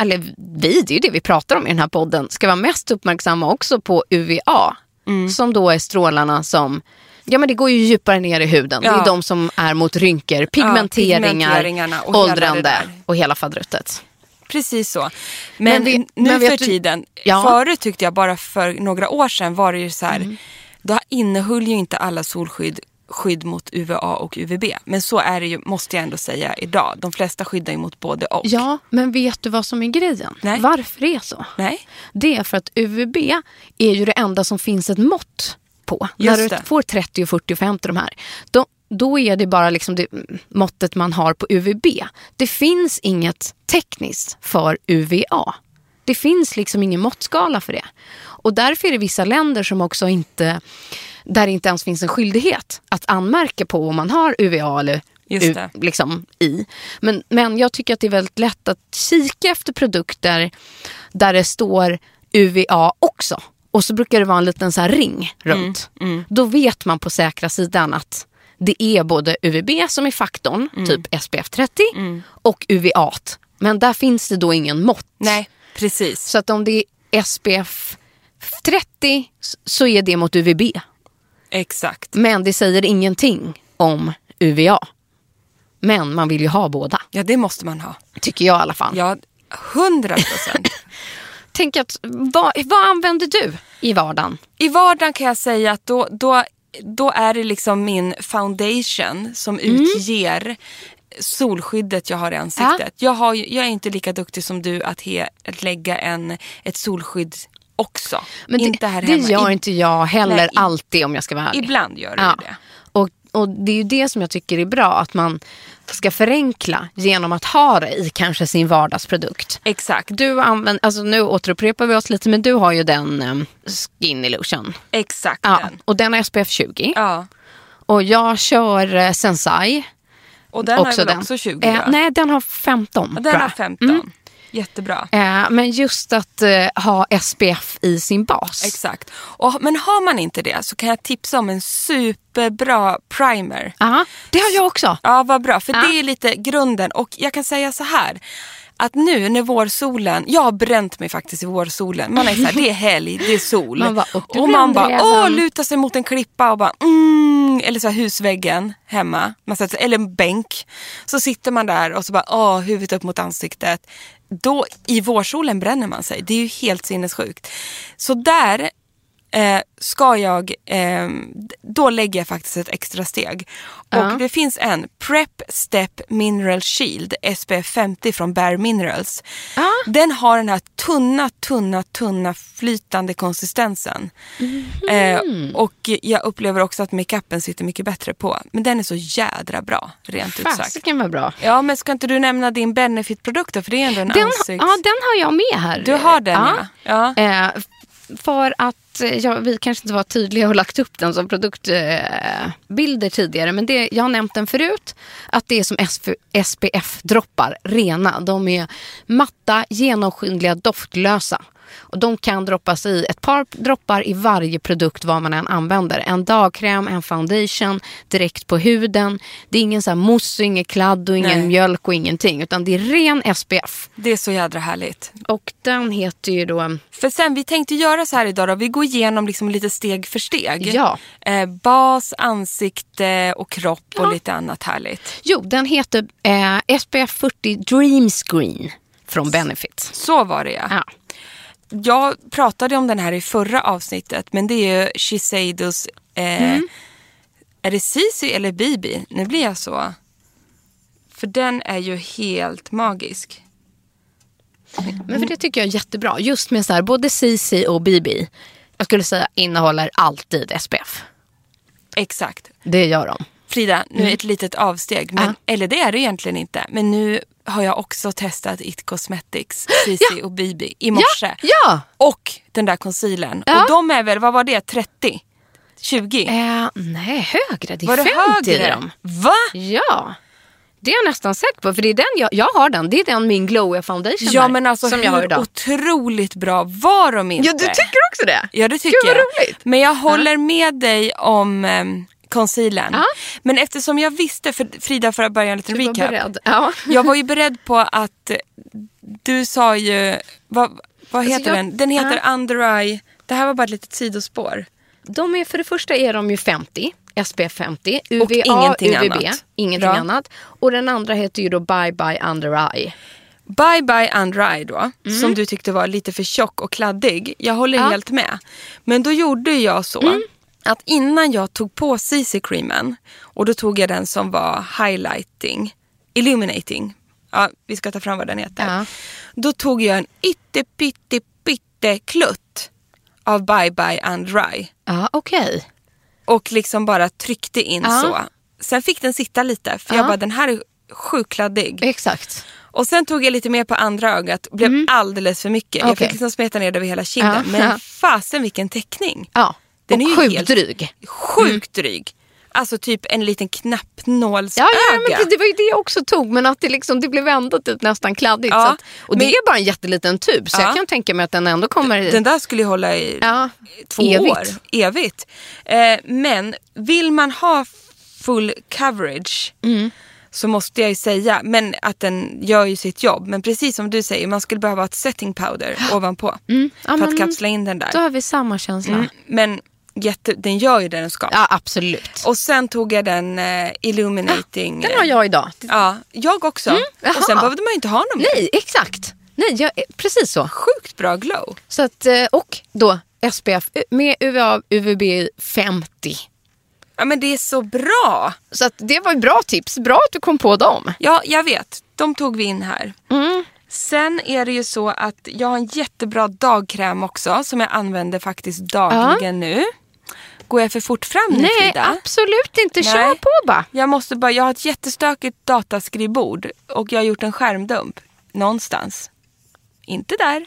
C: eller vi, det är ju det vi pratar om i den här podden, ska vara mest uppmärksamma också på UVA.
B: Mm.
C: Som då är strålarna som, ja men det går ju djupare ner i huden. Det
B: Ja.
C: är de som är mot rynkor, pigmenteringar,
B: pigmenteringarna och hela det
C: åldrande
B: där.
C: och hela fadruttet.
B: Precis så. Men,
C: Men vi-
B: nu
C: men
B: för
C: vet du-
B: tiden,
C: Ja. Mm.
B: förut tyckte jag bara för några år sedan var det ju så här, då innehöll ju inte alla solskydd skydd mot UVA och UVB. Men så är det ju, måste jag ändå säga idag. De flesta skyddar ju mot både och.
C: Ja, men vet du vad som är grejen?
B: Nej.
C: Varför det är så?
B: Nej?
C: Det är för att UVB är ju det enda som finns ett mått på.
B: Just
C: När du
B: det.
C: får 30, 40 och 50 de här. Då, då är det bara liksom det måttet man har på UVB. Det finns inget tekniskt för UVA. Det finns liksom ingen måttskala för det. Och därför är det vissa länder som också inte, där det inte ens finns en skyldighet att anmärka på om man har UVA eller
B: Just
C: U-
B: det.
C: liksom, i. Men, men jag tycker att det är väldigt lätt att kika efter produkter där det står UVA också. Och så brukar det vara en liten så här ring runt. Då vet man på säkra sidan att det är både UVB som är faktorn, typ SPF 30, och UVA. Men där finns det då ingen mått.
B: Nej, precis.
C: Så att om det är SPF 30 s- så är det mot UVB.
B: Exakt.
C: Men det säger ingenting om UVA. Men man vill ju ha båda,
B: Ja, det måste man ha.
C: tycker jag i alla fall.
B: Ja, 100 procent.
C: Tänk att, vad, vad använder du i vardagen?
B: I vardagen kan jag säga att då, då, då är det liksom min foundation som
C: Mm.
B: utger solskyddet jag har i ansiktet. Jag, har, ju- jag är inte lika duktig som du att, he, att lägga en, ett solskydd också.
C: Men det,
B: inte här
C: det
B: hemma.
C: gör
B: I-
C: inte jag heller
B: Nej, i-
C: alltid om jag ska vara ärlig.
B: Ibland gör det
C: Ja.
B: ju det.
C: Och, och det är ju det som jag tycker är bra, att man ska förenkla genom att ha det i kanske sin vardagsprodukt.
B: Exakt,
C: Du använder, alltså nu återupprepar vi oss lite, men du har ju den eh, ehm, Skin Illusion.
B: exakt
C: Ja,
B: den.
C: och den har SPF 20.
B: Ja.
C: Och jag kör eh, Sensai.
B: Och den
C: också
B: har väl
C: den.
B: också 20?
C: Eh,
B: va?
C: nej, den har 15.
B: Ja,
C: tror
B: den
C: jag.
B: har 15.
C: Mm.
B: Jättebra.
C: Eh, men just att eh, ha SPF i sin bas.
B: Exakt. Och, men har man inte det så kan jag tipsa om en superbra primer.
C: Ja, det har jag också.
B: Ja, vad bra. För
C: Ja.
B: det är lite grunden. Och jag kan säga så här. Att nu när vårsolen, jag har bränt mig faktiskt i vårsolen. Man är så här, det är helg, det är sol.
C: Man bara, och du
B: och man bara,
C: brände dig
B: åh,
C: även.
B: lutar sig mot en klippa och bara, mm, eller så här husväggen hemma. Man sätter, sig- eller en bänk. Så sitter man där och så bara, åh, huvudet upp mot ansiktet. Då i vårsolen bränner man sig. Det är ju helt sinnessjukt. Så där eh, ska jag, eh, då lägger jag faktiskt ett extra steg. Och det finns en Prep Step Mineral Shield SPF 50 från Bare Minerals. Den har den här tunna, tunna, tunna flytande konsistensen.
C: Mm.
B: Eh, och jag upplever också att makeupen sitter mycket bättre på. Men den är så jädra bra, rent ut sagt.
C: Fasiken vad bra.
B: Ja, men ska inte du nämna din Benefit-produkt då? För det är ändå en
C: Den,
B: ansikts...
C: ja, den har jag med här.
B: Du har den, ja.
C: Eh, för att eh, ja, vi kanske inte var tydliga och lagt upp den som produktbilder eh, bilder tidigare. Men det, jag har nämnt den förut. Att det är som SPF-droppar, rena. De är matta, genomskinliga, doftlösa. Och de kan droppas i ett par droppar i varje produkt vad man än använder. En dagkräm, en foundation, direkt på huden. Det är ingen så här mousse, ingen kladd och ingen
B: Nej.
C: mjölk och ingenting. Utan det är ren SPF.
B: Det är så jädra härligt.
C: Och den heter ju då...
B: För sen, vi tänkte göra så här idag då. Vi går igenom liksom lite steg för steg.
C: Ja.
B: Eh, bas, ansikte och kropp och lite annat härligt.
C: Jo, den heter eh, SPF 40 Dream Screen från Benefit.
B: Så var det ja.
C: Ja.
B: Jag pratade om den här i förra avsnittet men det är ju Shiseidos... Eh,
C: Mm.
B: Är det Sisi eller Bibi? Nu blir jag så. För den är ju helt magisk.
C: Men för det tycker jag är jättebra. Just med så här, både CC och BB. Jag skulle säga innehåller alltid SPF.
B: Exakt.
C: Det gör de.
B: Frida, nu
C: Mm.
B: ett litet avsteg. Men, Eller det är det egentligen inte. Men nu har jag också testat It Cosmetics, CC och Bibi i morse.
C: ja.
B: Och den där concealern.
C: Ja.
B: Och de är väl, vad var det, 30? 20?
C: Eh, nej, högre. Det är
B: var det
C: 50 i
B: högre?
C: dem.
B: Va?
C: Ja. Det är jag nästan säker på. För det är den jag, jag har den. Det är den min Glow foundation
B: Ja
C: här,
B: men alltså
C: som
B: hur
C: jag har idag.
B: otroligt bra var de inte?
C: Ja, du Typ tycker också det?
B: Ja det tycker
C: Gud, vad
B: jag.
C: roligt.
B: Men jag håller med dig om um, concealern. Men eftersom jag visste, för Frida för att börja en liten
C: Du var
B: recap.
C: beredd. Ja.
B: Jag var ju beredd på att eh, du sa ju, vad, vad heter
C: Alltså jag-
B: den? Den heter
C: Ja.
B: Under Eye. Det här var bara ett litet sidospår.
C: De är, för det första är de ju 50, SPF 50, UVA,
B: Och ingenting
C: UVB,
B: annat.
C: ingenting
B: Bra.
C: annat. Och den andra heter ju då Bye Bye Under Eye.
B: Bye Bye Under Eye då,
C: Mm.
B: som du tyckte var lite för tjock och kladdig. Jag håller helt med. Men då gjorde jag så
C: Mm.
B: att innan jag tog på CC-creamen och då tog jag den som var highlighting, illuminating. Ja, vi ska ta fram vad den heter.
C: Ja.
B: Då tog jag en ytte pytte pytte klutt av Bye Bye Under Eye.
C: Ja, okej.
B: och liksom bara tryckte in
C: Ja.
B: så. Sen fick den sitta lite för jag bara den här är sjukt kladdig.
C: Exakt.
B: Och sen tog jag lite mer på andra ögat blev alldeles för mycket. Jag
C: Mm. Okej.
B: fick liksom smeta ner det över hela kinden.
C: Ja.
B: Men
C: Ja.
B: fasen vilken teckning.
C: Ja.
B: Den
C: och
B: är ju
C: sjukt
B: helt-
C: dryg. Mm.
B: Sjukt dryg. Alltså typ en liten knappnålsöga.
C: Ja, ja men det, det var ju det jag också tog, men att det, liksom, det blev ändå typ nästan kladdigt.
B: Ja,
C: så att, och det
B: men-
C: är bara en jätteliten tub, så
B: Ja.
C: jag kan tänka mig att den ändå kommer...
B: Den där skulle ju hålla i
C: Ja,
B: två
C: evigt.
B: år. Evigt. Eh, men vill man ha full coverage
C: Mm.
B: så måste jag ju säga, men att den gör ju sitt jobb. Men precis som du säger, man skulle behöva ett setting powder ovanpå
C: Mm. Ja,
B: för att
C: men
B: kapsla in den
C: Då
B: där.
C: har vi samma känsla.
B: Mm, men jätte, den gör ju det den ska.
C: Ja, absolut.
B: Och sen tog jag den eh, illuminating. eh,
C: den har jag idag.
B: Ja, jag också.
C: jaha.
B: och sen behövde man ju inte ha någon mer.
C: Nej, exakt. Nej, jag, precis så.
B: Sjukt bra glow.
C: Så att, eh, och då SPF med UVA UVB 50.
B: Ja men det är så bra.
C: Så att det var ju bra tips. Bra att du kom på dem.
B: Ja, jag vet. De tog vi in här.
C: Mm.
B: Sen är det ju så att jag har en jättebra dagkräm också som jag använder faktiskt dagligen nu. Går jag för fort fram nu
C: Nej,
B: Mm, Frida?
C: absolut inte.
B: Nej.
C: Kör på bara.
B: Jag, måste bara, jag har ett jättestökigt dataskrivbord och jag har gjort en skärmdump någonstans. Inte där.
C: Mm.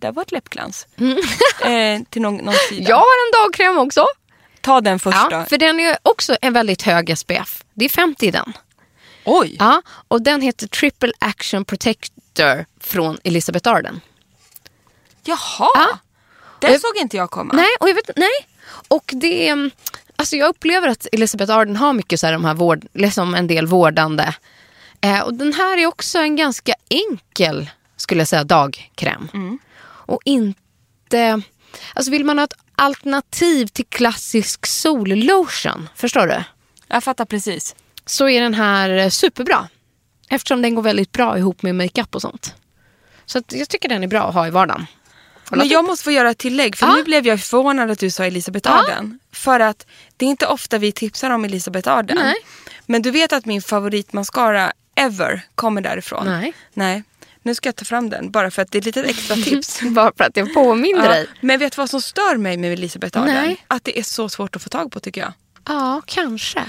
B: Där var ett läppglans. eh, till någon, någon sida.
C: Jag har en dagkräm också.
B: Ta den först
C: Ja,
B: då.
C: för den är också en väldigt hög SPF. Det är 50 i den.
B: Oj!
C: Ja, och den heter Triple Action Protector från Elisabeth Arden.
B: Jaha!
C: Ja.
B: Den
C: Eh,
B: såg inte jag komma.
C: Nej, och jag vet nej. Och det är, mm, alltså jag upplever att Elisabeth Arden har mycket så här, de här vård, liksom en del vårdande. Eh, och den här är också en ganska enkel, skulle jag säga, dagkräm.
B: Mm.
C: Och inte, alltså vill man ha ett alternativ till klassisk sollotion, förstår du?
B: Jag fattar precis.
C: så är den här eh, superbra. Eftersom den går väldigt bra ihop med makeup och sånt. Så att jag tycker den är bra att ha i vardagen.
B: Men jag måste få göra ett tillägg, för
C: Ja.
B: nu blev jag förvånad att du sa Elisabeth Arden. För att det är inte ofta vi tipsar om Elisabeth Arden.
C: Nej.
B: Men du vet att min favoritmascara ever kommer därifrån.
C: Nej.
B: Nej. Nu ska jag ta fram den, bara för att det är ett litet extra tips.
C: Bara för att jag påminner
B: Ja.
C: dig.
B: Men vet du vad som stör mig med Elisabeth Arden?
C: Nej.
B: Att det är så svårt att få tag på tycker jag.
C: Ja, kanske.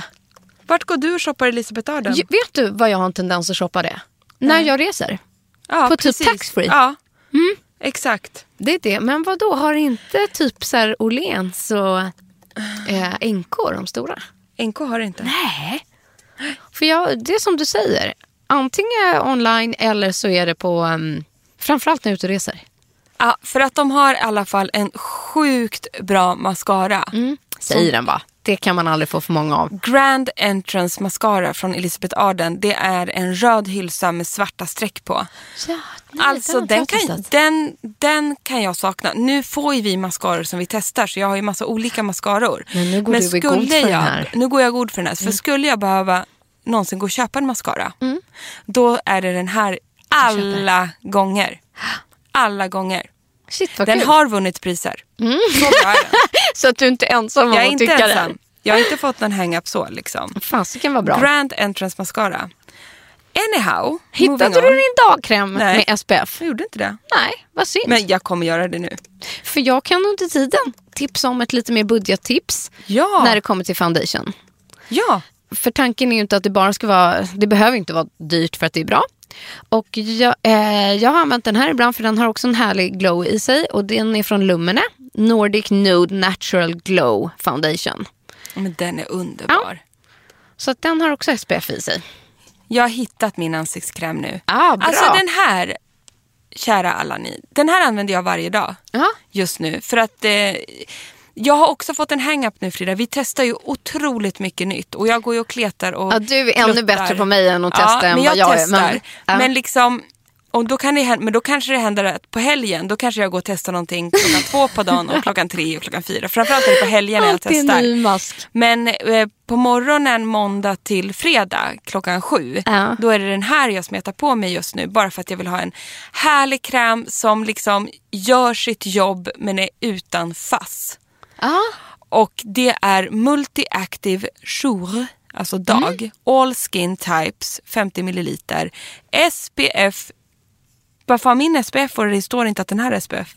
B: Vart går du och shoppar Elisabeth Arden?
C: Ju- Vet du vad jag har en tendens att shoppa det? När jag reser.
B: ja,
C: på typ taxfree. Mm.
B: Ja, exakt.
C: Det är det. Men vad då har inte typ så här Åhléns och eh, NK de stora?
B: NK har det inte.
C: Nej. För jag, det är som du säger. Antingen online eller så är det på, um, framförallt när jag är ute och reser.
B: Ja, för att de har i alla fall en sjukt bra mascara.
C: Mm. Säger den bara. Det kan man aldrig få för många av.
B: Grand Entrance Mascara från Elisabeth Arden. Det är en röd hylsa med svarta streck på.
C: Ja, nej,
B: alltså
C: har inte
B: den
C: jag
B: kan,
C: testat.
B: den, den kan jag sakna. Nu får ju vi mascaror som vi testar så jag har ju massa olika mascaror.
C: Men nu går du i god för den
B: jag,
C: här. Mm.
B: Nu går jag god för den här. För skulle jag behöva någonsin gå och köpa en mascara då är det den här alla gånger. Alla gånger.
C: Shit vad
B: Den
C: kul. Mm.
B: har vunnit priser. Så bra är den.
C: Så att du inte är ensam om
B: Jag är
C: att
B: inte
C: tycka det.
B: ensam. Jag har inte fått någon hang-up så liksom.
C: Fan, så kan vara bra.
B: Grand Entrance Mascara. Anyhow, moving
C: Hittade
B: on.
C: du din dagkräm
B: Nej.
C: med SPF?
B: Jag gjorde inte det.
C: Nej, vad synd.
B: Men jag kommer göra det nu.
C: För jag kan under tiden tipsa om ett lite mer budgettips
B: Ja,
C: när det kommer till foundation.
B: ja.
C: För tanken är ju inte att det bara ska vara, det behöver inte vara dyrt för att det är bra. Och jag, eh, jag har använt den här ibland för den har också en härlig glow i sig och den är från Lumene. Nordic Nude Natural Glow Foundation.
B: Men den är underbar.
C: Så att den har också SPF i sig.
B: Jag har hittat min ansiktskräm nu.
C: Ah, bra.
B: Alltså den här, kära alla ni. Den här använder jag varje dag
C: Ja.
B: just nu. För att eh, jag har också fått en hang-up nu Frida. Vi testar ju otroligt mycket nytt. Och jag går ju och kletar och
C: Ja, du är ännu
B: kluttar.
C: bättre på mig än att testa
B: ja,
C: än
B: men
C: vad
B: jag
C: jag är,
B: testar.
C: men- ja.
B: Men liksom... Och då kan det, hända- men då kanske det händer att på helgen, då kanske jag går och testar någonting klockan två på dagen och klockan tre och klockan fyra. Framförallt är det på helgen när jag
C: Alltid en
B: testar.
C: ny mask.
B: Men eh, på morgonen måndag till fredag klockan sju,
C: Ja.
B: då är det den här jag smetar på mig just nu. Bara för att jag vill ha en härlig kräm som liksom gör sitt jobb men är utan fass.
C: Ja.
B: Och det är Multi-Active Jour, alltså
C: Mm.
B: dag, All Skin Types, 50 milliliter, SPF. Varför har min SPF och det står inte att den här är SPF?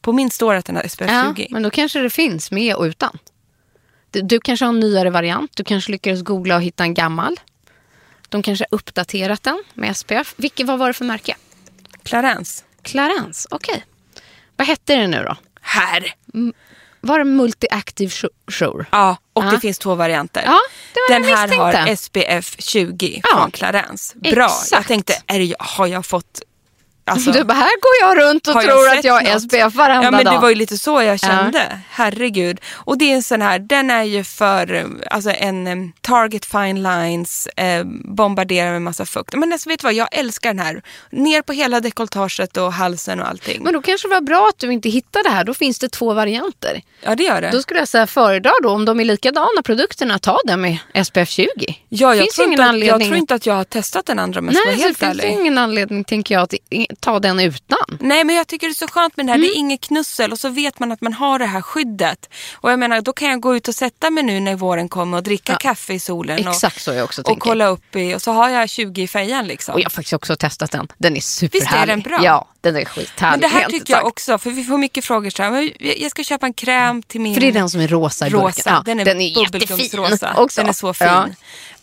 B: På min står att den är SPF 20.
C: Ja, men då kanske det finns med och utan. Du, du kanske har en nyare variant. Du kanske lyckades googla och hitta en gammal. De kanske har uppdaterat den med SPF. Vilke, vad var det för märke?
B: Clarence.
C: Clarence, okej. Vad hette det nu då?
B: Här!
C: Var det Multi-Active Sho- Sure?
B: Ja, och
C: Ja.
B: det finns två varianter.
C: Ja, det var
B: Den
C: det jag
B: här har
C: misstänkte.
B: SPF 20
C: Ja.
B: från Clarence. Bra. Jag
C: Exakt.
B: tänkte, är det jag, har jag fått... Alltså,
C: Du bara, här går jag runt och
B: har
C: tror
B: sett
C: att jag är
B: något?
C: SPF varenda
B: Ja, men
C: dag.
B: det var ju lite så jag kände. Herregud. Och det är en sån här, den är ju för eh, alltså en eh, Target Fine Lines, eh, bombarderar med massa fukt. Men alltså, vet du vad, jag älskar den här. Ner på hela dekolletaget och halsen och allting.
C: Men då kanske det var bra att du inte hittade här. Då finns det två varianter.
B: ja, det gör det.
C: Då skulle jag säga föredra då om de är likadana produkterna, ta den med SPF 20.
B: ja, jag,
C: finns
B: tror
C: ingen
B: inte att, jag
C: anledning
B: tror inte att jag har testat den andra om jag ska
C: Nej,
B: vara
C: så det
B: helt
C: finns
B: ärlig.
C: ju ingen anledning tänker jag att i- ta den utan.
B: Nej men jag tycker det är så skönt med den här.
C: Mm.
B: Det är inget knussel och så vet man att man har det här skyddet. Och jag menar då kan jag gå ut och sätta mig nu när våren kommer och dricka kaffe i solen. Och,
C: Exakt så jag också
B: och
C: tänker.
B: kolla upp i och så har jag 20 i fejan liksom.
C: Och jag har faktiskt också testat den. Den är superhärlig.
B: den bra?
C: Ja, den är
B: men
C: skithärlig.
B: det här
C: helt
B: tycker jag
C: sagt.
B: också, för vi får mycket frågor så här, men jag jag ska köpa en kräm till min...
C: För det är den som är rosa i burken.
B: rosa.
C: Ja,
B: den är,
C: den är jättefin
B: bubbelgumsrosa.
C: också.
B: Den är så fin.
C: Ja.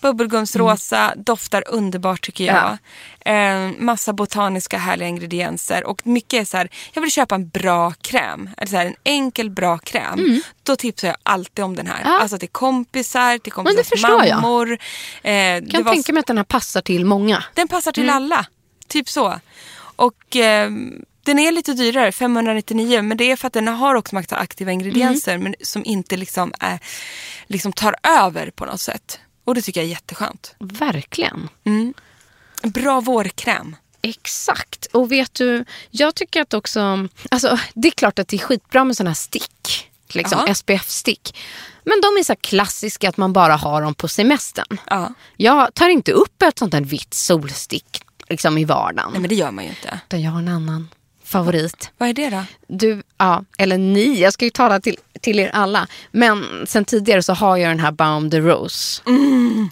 B: Bubbelgumsrosa, doftar underbart tycker jag. Eh, massa botaniska härliga ingredienser och mycket är så här, jag vill köpa en bra kräm. Eller så här, en enkel bra kräm.
C: Mm.
B: Då tipsar jag alltid om den här. Alltså till kompisar, till
C: det
B: kompisars
C: förstår jag.
B: mammor. Eh,
C: Kan
B: det var
C: tänka mig att den här passar till många.
B: den passar
C: Mm.
B: till alla. Typ så. Och eh, den är lite dyrare, 599, men det är för att den har också massa
C: Mhm.
B: aktiva ingredienser men som inte liksom, är, liksom tar över på något sätt. Och det tycker jag är jätteskönt.
C: Verkligen.
B: Bra vårkräm.
C: Exakt. Och vet du, jag tycker att också... Alltså, det är klart att det är skitbra med såna här stick. Liksom,
B: Ja.
C: SPF-stick. Men de är så här klassiska att man bara har dem på semestern.
B: Ja.
C: Jag tar inte upp ett sånt där vitt solstick liksom, i vardagen.
B: Nej men det gör man ju inte.
C: Utan jag har en annan favorit.
B: Vad är det då?
C: Du, ja, eller ni, jag ska ju tala till, till er alla. Men sen tidigare så har jag den här Baum the Rose
B: Mm.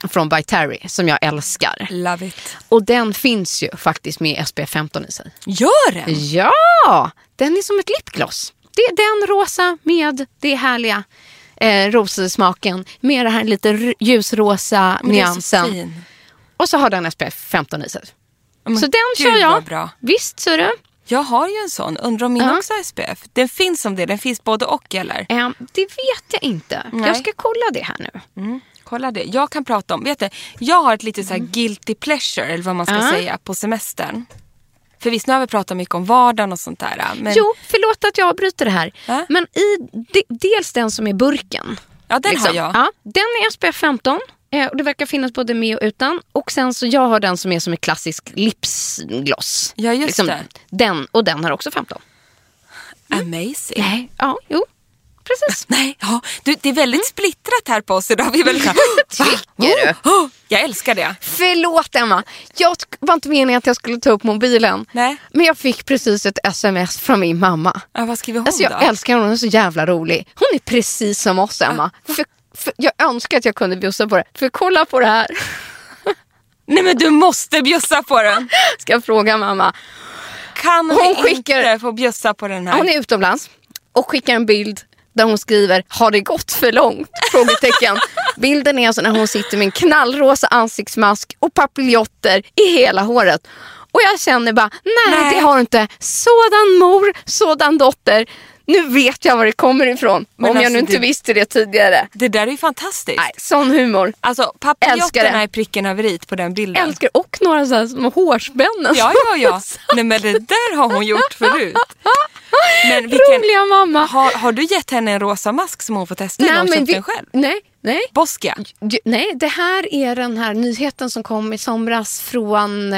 C: eh, från By Terry som jag älskar.
B: Love it.
C: Och den finns ju faktiskt med SPF 15 i sig.
B: Gör den?
C: Ja, den är som ett lipgloss. Det är den rosa med det härliga eh, rossmaken med den här lite r- ljusrosa
B: Men det är så
C: nyansen.
B: fin.
C: och så har den SPF 15 i sig.
B: Ja, men
C: så den
B: gud,
C: kör jag.
B: vad Bra.
C: Visst, ser du?
B: Jag har ju en sån. Undrar om min
C: Ja.
B: också har SPF? Den finns som det. Den finns både och eller?
C: Eh, det vet jag inte.
B: Nej.
C: Jag ska kolla det här nu.
B: Kolla det. Jag kan prata om, vet du, jag har ett litet så här guilty pleasure eller vad man ska
C: Mm. Ja.
B: säga på semestern. För visst, nu har vi pratat mycket om vardagen och sånt där. Men
C: Jo, förlåt att jag avbryter det här.
B: Ja.
C: Men i de, dels den som är burken.
B: ja, den har
C: liksom.
B: jag.
C: Ja, den är SPF 15. eh, Och det verkar finnas både med och utan. Och sen så jag har den som är som en klassisk lipsgloss. liksom.
B: Ja, just det.
C: Den, och den har också 15. Mm.
B: Amazing.
C: Nej. Ja, jo. Precis.
B: Nej, ja, du, det är väldigt
C: Mm.
B: splittrat här på oss idag. Vi är väldigt så här, "Va?
C: Tycker
B: oh, oh, jag älskar det.
C: Förlåt Emma, jag t- var inte meningen att jag skulle ta upp mobilen.
B: Nej.
C: Men jag fick precis ett sms från min mamma.
B: Ja, vad skriver hon
C: Alltså jag
B: då?
C: älskar henne, hon är så jävla rolig. Hon är precis som oss Emma. För, för, jag önskar att jag kunde bjussa på det. För kolla på det här.
B: Nej men du måste bjussa på den.
C: Ska jag fråga mamma.
B: Kan
C: Hon
B: hon vi
C: skickar-
B: inte få bjussa på den här?
C: Hon är utomlands och skickar en bild där hon skriver “Har det gått för långt?” Frågetecken. Bilden är alltså när hon sitter med en knallrosa ansiktsmask och papiljotter i hela håret. Och jag känner bara, nej,
B: Nej.
C: det har du inte. Sådan mor, sådan dotter. Nu vet jag var det kommer ifrån.
B: Men
C: om jag
B: alltså,
C: nu inte
B: det-
C: visste det tidigare.
B: Det där är ju fantastiskt.
C: Nej, sån humor.
B: Alltså
C: Älskar det.
B: papiljetterna är pricken över i på den bilden.
C: Älskar och några så här små hårspännen.
B: Ja, ja, ja.
C: Alltså,
B: Nej men det där har hon gjort förut. Men vilken,
C: Roliga mamma.
B: Har, har du gett henne en rosa mask som hon får testa eller har hon köpt den själv?
C: nej, nej.
B: Boskia?
C: Ju- Nej, det här är den här nyheten som kom i somras från,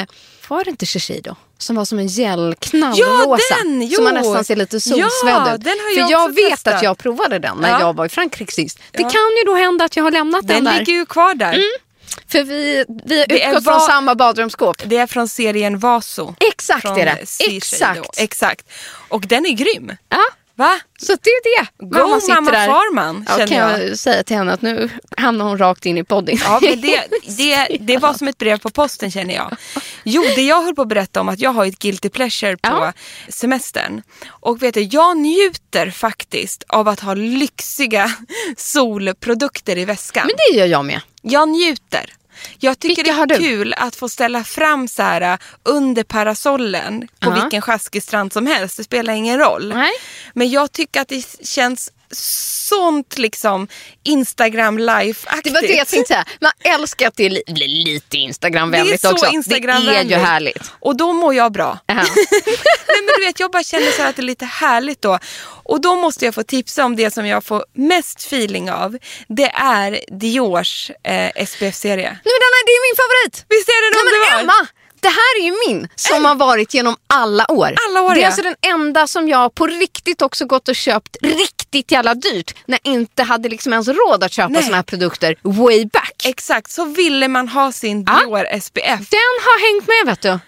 C: var det inte Shiseido? Som var som en gel knallrosa.
B: Ja, den! Jo!
C: Som man nästan ser lite solsvedd
B: Ja,
C: ut.
B: den har
C: För
B: jag
C: jag
B: också
C: vet
B: testat.
C: att jag provade den när
B: Ja.
C: jag var i Frankrike sist. Det kan ju då hända att jag har lämnat den,
B: Den
C: där. Mm.
B: ligger ju kvar där.
C: För vi, vi har
B: Det är
C: utgått från
B: va-
C: samma badrumsskåp.
B: Det är från serien Vaso.
C: Exakt
B: Från
C: är det.
B: Shiseido.
C: Exakt.
B: Exakt. Och den är grym.
C: Ja.
B: Va?
C: Så det är det.
B: Go mamma Farman,
C: ja,
B: känner
C: kan jag. säga till henne att nu hamnar hon rakt in i podden.
B: Ja, men det, det, det var som ett brev på posten känner jag. Jo, det jag höll på att berätta om att jag har ett guilty pleasure på
C: Ja.
B: semestern. Och vet du, jag njuter faktiskt av att ha lyxiga solprodukter i väskan.
C: men det gör jag med.
B: Jag njuter. Jag tycker
C: Vilka
B: det är
C: har du?
B: kul att få ställa fram så här uh, under parasollen på
C: Ja.
B: vilken sjaskig strand som helst. Det spelar ingen roll.
C: Nej.
B: Men jag tycker att det känns sånt liksom Instagram life-aktigt.
C: Det var det jag tänkte säga. Man älskar att det är li- blir lite Instagramvänligt
B: Det är så
C: också. det är ju
B: Instagramvänligt.
C: härligt.
B: Och då mår jag bra.
C: Ja.
B: Nej, men du vet, jag bara känner så här att det är lite härligt då. Och då måste jag få tipsa om det som jag får mest feeling av. Det är Diors eh, SPF-serie.
C: Nu, den här, det är min favorit!
B: Visst är det
C: Nej, men
B: underbar?
C: Emma! Det här är ju min som har varit genom alla år.
B: Äh. Alla år,
C: det är
B: ja.
C: alltså den enda som jag på riktigt också gått och köpt riktigt jävla dyrt när jag inte hade liksom ens råd att köpa
B: Nej.
C: såna här produkter way back.
B: Exakt, så ville man ha sin
C: Ja.
B: Dior SPF.
C: Den har hängt med vet du.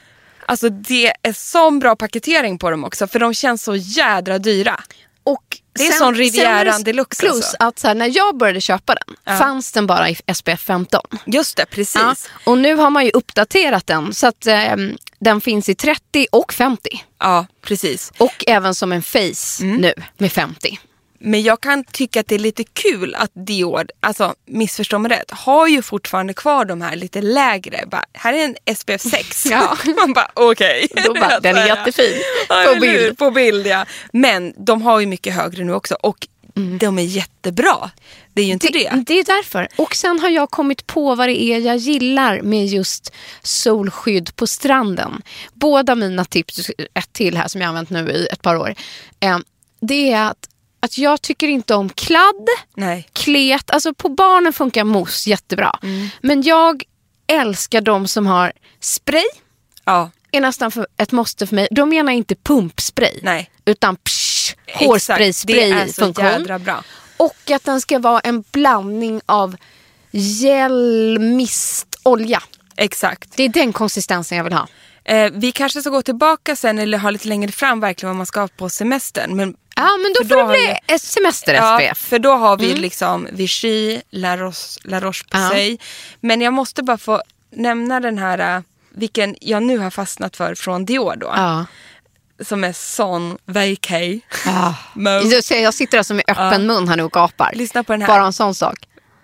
B: Alltså det är sån bra paketering på dem också för de känns så jädra dyra.
C: Och
B: Det är sån Rivieran
C: sen-
B: deluxe
C: Plus
B: alltså.
C: att så här, när jag började köpa den fanns den bara i SPF 15.
B: Just det, precis.
C: Ja, och nu har man ju uppdaterat den så att eh, den finns i 30 och 50.
B: ja precis. Mm.
C: Och även som en face nu med 50.
B: Men jag kan tycka att det är lite kul att Dior, alltså missförstå mig rätt, har ju fortfarande kvar de här lite lägre. Bara, här är en SPF 6.
C: Ja.
B: Man bara okej.
C: Då bara, den är jättefin.
B: Ja,
C: På
B: eller hur?
C: bild.
B: På bild ja. Men de har ju mycket högre nu också och de är jättebra. Det är ju inte det.
C: Mm. Det, är därför. Och sen har jag kommit på vad det är jag gillar med just solskydd på stranden. Båda mina tips, ett till här som jag har använt nu i ett par år, eh, det är att, att jag tycker inte om kladd,
B: Nej.
C: klet. Alltså på barnen funkar mousse jättebra.
B: Mm.
C: Men jag älskar de som har spray.
B: Ja.
C: är nästan för, ett måste för mig. Då menar jag inte pumpspray.
B: Nej.
C: Utan psh,
B: Exakt,
C: hårspray,
B: Det är så
C: sprayfunktion.
B: jädra bra.
C: Och att den ska vara en blandning av gel, mist, olja.
B: Exakt.
C: Det är den konsistensen jag vill ha.
B: Eh, vi kanske ska gå tillbaka sen eller ha lite längre fram verkligen vad man ska ha på semestern. Men
C: Ja, men då
B: För
C: får
B: då
C: det
B: har
C: bli ett semester
B: Ja,
C: SPF.
B: för då har vi liksom Vichy, La Roche, La Roche på
C: Mm. Ja.
B: sig. Men jag måste bara få nämna den här, eh, vilken jag nu har fastnat för från Dior då.
C: Ja.
B: Som är Son VK.
C: Ah.
B: Mo.
C: Jag ser- Jag sitter alltså med öppen mun här nu och gapar.
B: Lyssna på den här.
C: Bara en sån sak.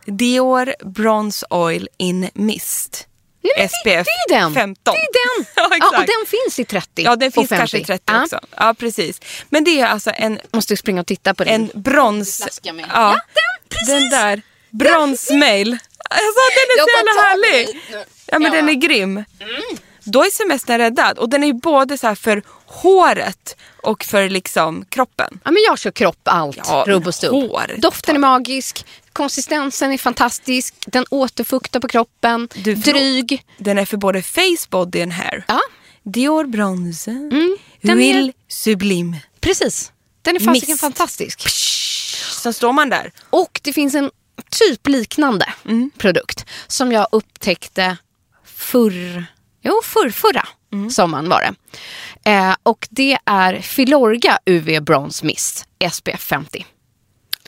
B: Dior Bronze Oil in Mist.
C: Nej, men
B: SPF
C: det, det är den.
B: 15.
C: Det är den.
B: ja, exakt.
C: och den finns i 30
B: Ja, den
C: och
B: finns
C: 50.
B: kanske i 30
C: Ja.
B: också. Ja, precis. Men det är alltså en
C: Måste springa och titta på den.
B: en brons...
C: Flaska med.
B: Ja,
C: Ja, den, precis.
B: den där. Bronsmail. Alltså den är
C: Jag
B: så
C: får
B: jävla
C: ta
B: härlig.
C: mig nu.
B: Ja men
C: Ja. Mm.
B: den är grym. Då är semestern räddad och den är ju både så här för håret och för liksom kroppen.
C: Ja, men jag kör kropp allt,
B: Ja,
C: rubb och stubb.
B: hår tar
C: Doften är magisk, konsistensen är fantastisk, den återfuktar på kroppen,
B: Du, förlåt.
C: dryg.
B: Den är för både face, body and hair.
C: Ja, Mm.
B: Dior Bronze.
C: den är-
B: Will Sublim.
C: precis. Den är fasiken
B: Mist.
C: fantastisk.
B: Sen står man där.
C: Och det finns en typ liknande produkt som jag upptäckte förr, jo, förr, förra sommaren var det. Eh, och det är Filorga UV Bronze Mist SPF 50.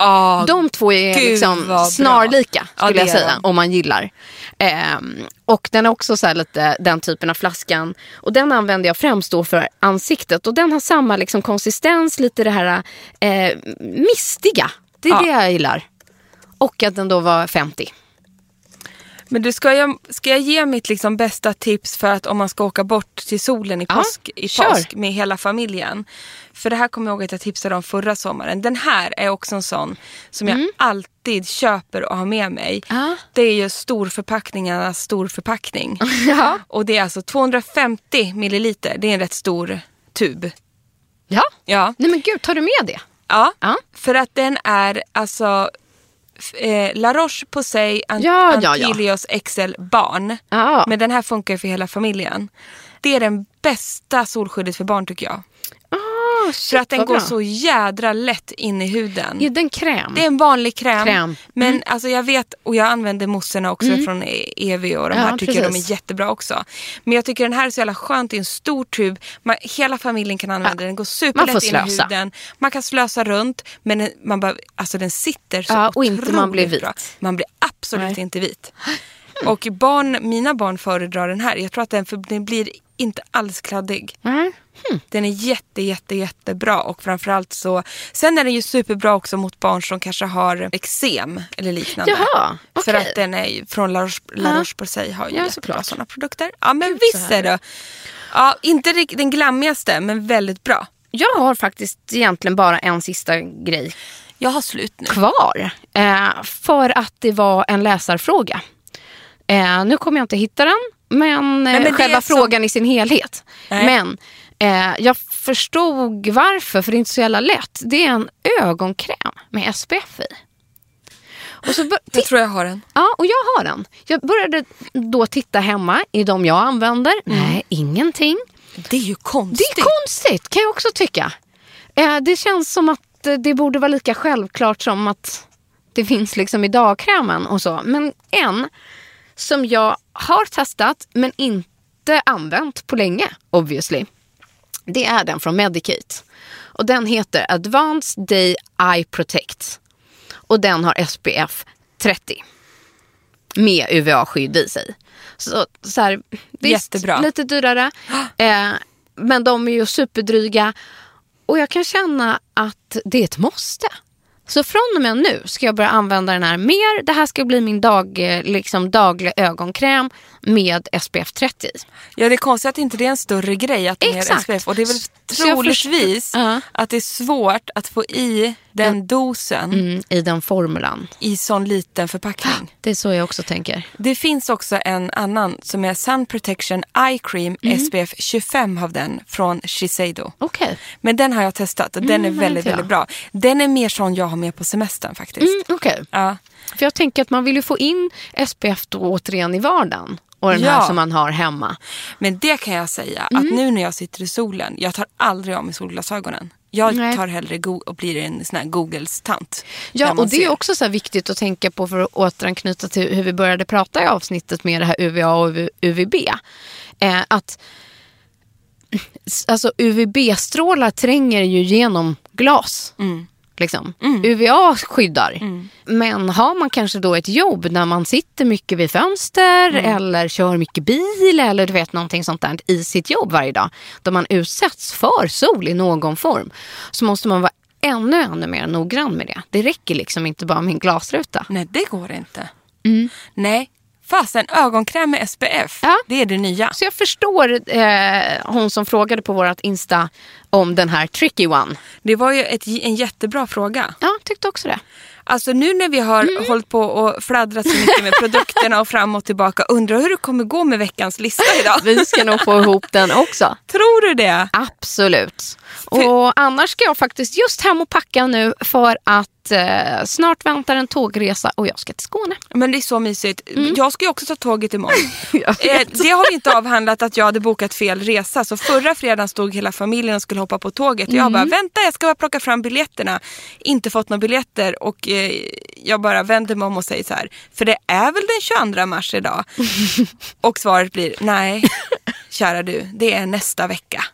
B: Oh,
C: De två är
B: Gud, vad
C: liksom
B: bra.
C: snarlika
B: Ja,
C: skulle
B: det
C: jag
B: är
C: säga
B: de.
C: om man gillar. Ehm, och den är också så här lite den typen av flaskan. Och den använder jag främst då för ansiktet och den har samma liksom konsistens, lite det här eh, mistiga. Det är
B: Ja.
C: det jag gillar. Och att den då var 50.
B: Men du, ska jag, ska jag ge mitt liksom bästa tips för att om man ska åka bort till solen i
C: Ja,
B: påsk, i
C: kör.
B: påsk med hela familjen? För det här kommer jag ihåg att jag tipsade om förra sommaren. Den här är också en sån som jag alltid köper och har med mig.
C: Mm. Ja.
B: Det är ju storförpackningarnas storförpackning. Och det är alltså 250 milliliter. Det är en rätt stor tub.
C: Ja.
B: Ja.
C: Nej men gud, tar du med det?
B: Ja,
C: Ja.
B: för att den är alltså f- eh, La Roche på sig, An-
C: Ja, ja, ja.
B: Antilios XL barn.
C: Ja.
B: Men den här funkar ju för hela familjen. Det är den bästa solskyddet för barn tycker jag.
C: Oh,
B: för att den går så jädra lätt in i huden.
C: Ja, den kräm.
B: Det är en vanlig kräm.
C: Kräm. Mm.
B: Men alltså jag vet, och jag använder mossorna också från EV och de
C: Ja,
B: här tycker jag de
C: precis.
B: är jättebra också. Men jag tycker den här är så jävla skönt i en stor tub. Man, hela familjen kan använda
C: Ja.
B: den. Den går
C: Man
B: superlätt
C: får
B: in i
C: slösa.
B: huden. Man kan slösa runt men den, man bara, alltså den sitter så
C: Ja, och inte man blir
B: otroligt
C: vit.
B: Man blir absolut
C: Nej.
B: inte vit. Och barn, mina barn föredrar den här. Jag tror att den, för den blir inte alls kladdig.
C: Nej.
B: Den är jätte, jätte, jättebra och framförallt så, sen är den ju superbra också mot barn som kanske har eksem eller liknande.
C: Jaha,
B: För
C: okej.
B: att den är ju från La Roche- La
C: Ja.
B: Roche-Posay har ju
C: Ja,
B: jättebra
C: såklart.
B: sådana produkter. Ja men
C: Gud,
B: visst
C: så
B: är det. Ja, inte rikt- den glammigaste men väldigt bra.
C: Jag har faktiskt egentligen bara en sista grej
B: Jag har slut nu.
C: kvar. Eh, för att det var en läsarfråga. Eh, nu kommer jag inte hitta den, men, eh,
B: men det
C: själva
B: är som-
C: frågan i sin helhet.
B: Nej.
C: Men eh, jag förstod varför, för det är inte så jävla lätt. Det är en ögonkräm med SPF i. Och så bör-
B: Jag tror jag har den.
C: Ja, och jag har den. Jag började då titta hemma i de jag använder.
B: Mm.
C: Nej, ingenting.
B: Det är ju
C: Det
B: konstigt.
C: är konstigt kan jag också tycka. Eh, det känns som att eh, det borde vara lika självklart som att det finns liksom i dagkrämen och så. Men en som jag har testat men inte använt på länge obviously. Det är den från Medicate. Och den heter Advanced Day Eye Protect. Och den har SPF 30. Med UVA-skydd i sig. Så, så här, visst,
B: Jättebra.
C: lite dyrare. Eh, men de är ju superdryga. Och jag kan känna att det är ett måste. Så från och med nu ska jag börja använda den här mer. Det här ska bli min dag, eh, liksom dagliga ögonkräm med SPF 30.
B: Ja, det är konstigt att inte det är en större grej att det är
C: Exakt.
B: SPF. Och det är väl
C: Så jag förstår-
B: troligtvis
C: Ja.
B: att det är svårt att få i den dosen
C: Mm, I den formulan.
B: i sån liten förpackning.
C: Det är så jag också tänker.
B: Det finns också en annan som är Sun Protection Eye Cream
C: Mm.
B: SPF 25 av den från Shiseido.
C: Okej.
B: Men den har jag testat och den
C: Mm,
B: är
C: vad
B: väldigt,
C: heter jag?
B: väldigt bra. Den är mer sån jag har med på semestern faktiskt.
C: Mm, okej.
B: Ja.
C: För jag tänker att man vill ju få in SPF då återigen i vardagen. Och den
B: Ja.
C: här som man har hemma.
B: Men det kan jag säga
C: Mm.
B: att nu när jag sitter i solen, jag tar aldrig av mig solglasögonen. Jag
C: Nej.
B: tar hellre go- och blir en sån här Googles tant.
C: Ja,
B: När man
C: och det är
B: ser.
C: också så här viktigt att tänka på för att återanknyta till hur vi började prata i avsnittet med det här UVA och UV- UVB. Eh, att s- alltså, UVB-strålar tränger ju genom glas. Liksom. UVA skyddar. Men har man kanske då ett jobb när man sitter mycket vid fönster eller kör mycket bil eller du vet någonting sånt där i sitt jobb varje dag. Då man utsätts för sol i någon form. Så måste man vara ännu, ännu mer noggrann med det. Det räcker liksom inte bara med en glasruta.
B: Nej, det går inte. Nej, fasen ögonkräm med SPF,
C: Mm. Ja.
B: det är det nya.
C: Så jag förstår eh, hon som frågade på vårt Insta om den här tricky one.
B: Det var ju ett, en jättebra fråga.
C: Ja, tyckte också det.
B: Alltså nu när vi har hållit på och fladdrat så mycket med produkterna och fram och tillbaka, undrar hur det kommer gå med veckans lista idag?
C: Vi ska nog få ihop den också.
B: Tror du det?
C: Absolut. Och annars ska jag faktiskt just hem och packa nu för att eh, snart väntar en tågresa och jag ska till Skåne.
B: Men det är så mysigt. Jag ska ju också ta tåget imorgon.
C: Mm. Jag
B: Eh,
C: vet.
B: det har vi inte avhandlat att jag hade bokat fel resa. Så förra fredagen stod hela familjen och skulle hoppa på tåget. Och
C: Mm.
B: jag bara, vänta jag ska bara plocka fram biljetterna. Inte fått några biljetter och eh, jag bara vänder mig om och säger så här. För det är väl den 22 mars idag? och svaret blir, nej kära du, det är nästa vecka.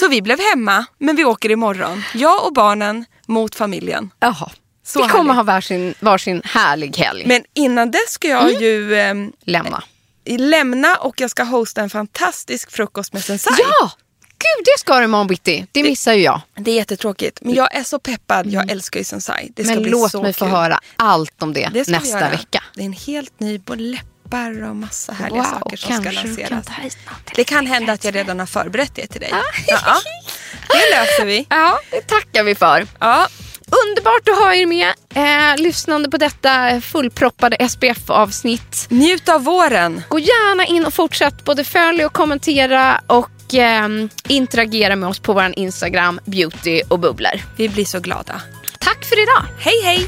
B: Så vi blev hemma, men vi åker imorgon. Jag och barnen mot familjen.
C: Jaha.
B: Så
C: Vi kommer
B: härligt.
C: ha varsin, varsin härlig helg.
B: Men innan dess ska jag
C: Mm.
B: ju ehm,
C: Lämna.
B: lämna och jag ska hosta en fantastisk frukost med sensai.
C: Ja! Gud, det ska du imorgon bitti. Det missar ju jag.
B: Det är jättetråkigt, men jag är så peppad. Jag älskar ju sensai. Det ska
C: Mm. Men
B: bli
C: låt
B: så
C: mig få
B: kul.
C: höra allt om det,
B: Det ska vi
C: nästa
B: göra.
C: vecka.
B: Det är en helt ny både läppar och massa härliga
C: Wow,
B: saker som ska
C: kanske du kan
B: lanseras.
C: ta Ah. hit något till
B: det kan hända att jag redan har förberett det till dig. Ja, ja. Det löser vi.
C: Ja, det tackar vi för.
B: Ja.
C: Underbart att ha er med, eh, lyssnande på detta fullproppade SPF-avsnitt.
B: Njut av våren.
C: Gå gärna in och fortsätt både följa och kommentera och ehm, interagera med oss på vår Instagram, beauty och bubblor.
B: Vi blir så glada.
C: Tack för idag!
B: Hej, hej!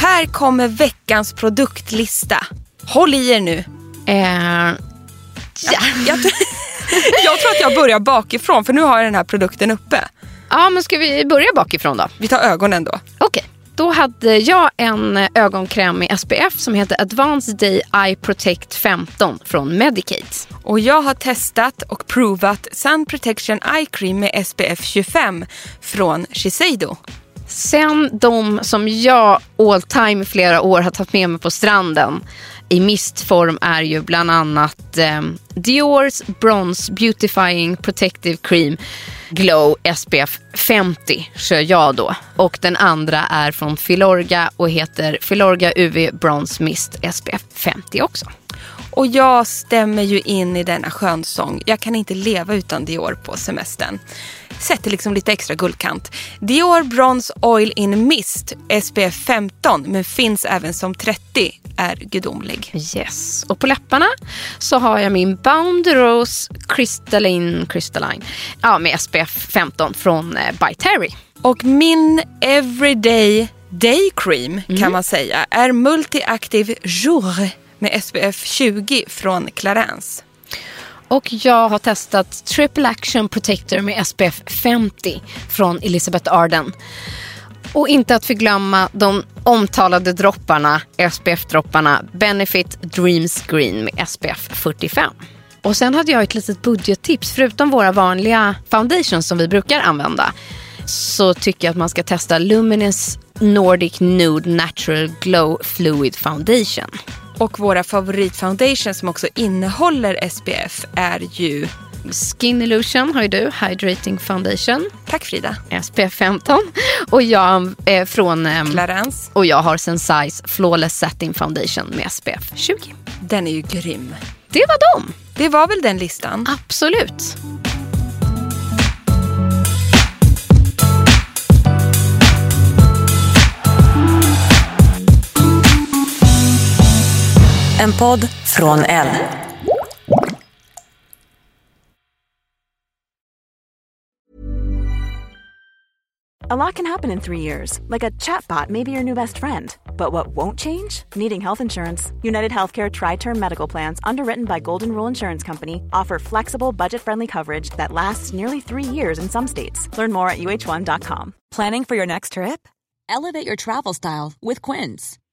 B: Här kommer veckans produktlista. Håll i er nu.
C: Eh, ja.
B: Jag, tr- jag tror att jag börjar bakifrån för nu har jag den här produkten uppe.
C: ja, men ska vi börja bakifrån då?
B: Vi tar ögonen då.
C: Okej. Då hade jag en ögonkräm med SPF som heter Advanced Day Eye Protect 15 från Medicate.
B: Och jag har testat och provat Sun Protection Eye Cream med SPF 25 från Shiseido.
C: Sen de som jag all time i flera år har tagit med mig på stranden i mistform är ju bland annat eh, Diors Bronze Beautifying Protective Cream Glow SPF 50 kör jag då. Och den andra är från Filorga och heter Filorga UV Bronze Mist SPF 50 också.
B: Och jag stämmer ju in i denna skönsång. Jag kan inte leva utan Dior på semestern. Sätter liksom lite extra guldkant. Dior Bronze Oil in Mist SPF 15 men finns även som 30 är gudomlig.
C: Yes. Och på läpparna så har jag min Bound Rose Crystalline, Crystalline ja, med SPF 15 från eh, By Terry.
B: Och min everyday day cream kan man säga är Multi-Active Jour med SPF 20 från Clarins.
C: Och jag har testat Triple Action Protector med SPF 50 från Elizabeth Arden. Och inte att förglömma de omtalade dropparna, SPF-dropparna Benefit Dreams Green med SPF 45. Och sen hade jag ett litet budgettips. Förutom våra vanliga foundations som vi brukar använda så tycker jag att man ska testa Luminous Nordic Nude Natural Glow Fluid Foundation.
B: Och våra favoritfoundation som också innehåller SPF är ju
C: Skin Illusion har ju du, Hydrating Foundation,
B: Tack Frida.
C: SPF 15. Och jag är från... ehm,
B: Clarence.
C: Och jag har Sensize Flawless Setting Foundation med SPF 20.
B: Den är ju grym.
C: Det var dem.
B: Det var väl den listan.
C: Absolut.
G: En podd från L.
A: A lot can happen in three years, like a chatbot may be your new best friend. But what won't change? Needing health insurance. United Healthcare Tri Term Medical Plans, underwritten by Golden Rule Insurance Company, offer flexible, budget friendly coverage that lasts nearly three years in some states. Learn more at uh1.com.
G: Planning for your next trip? Elevate your travel style with Quince.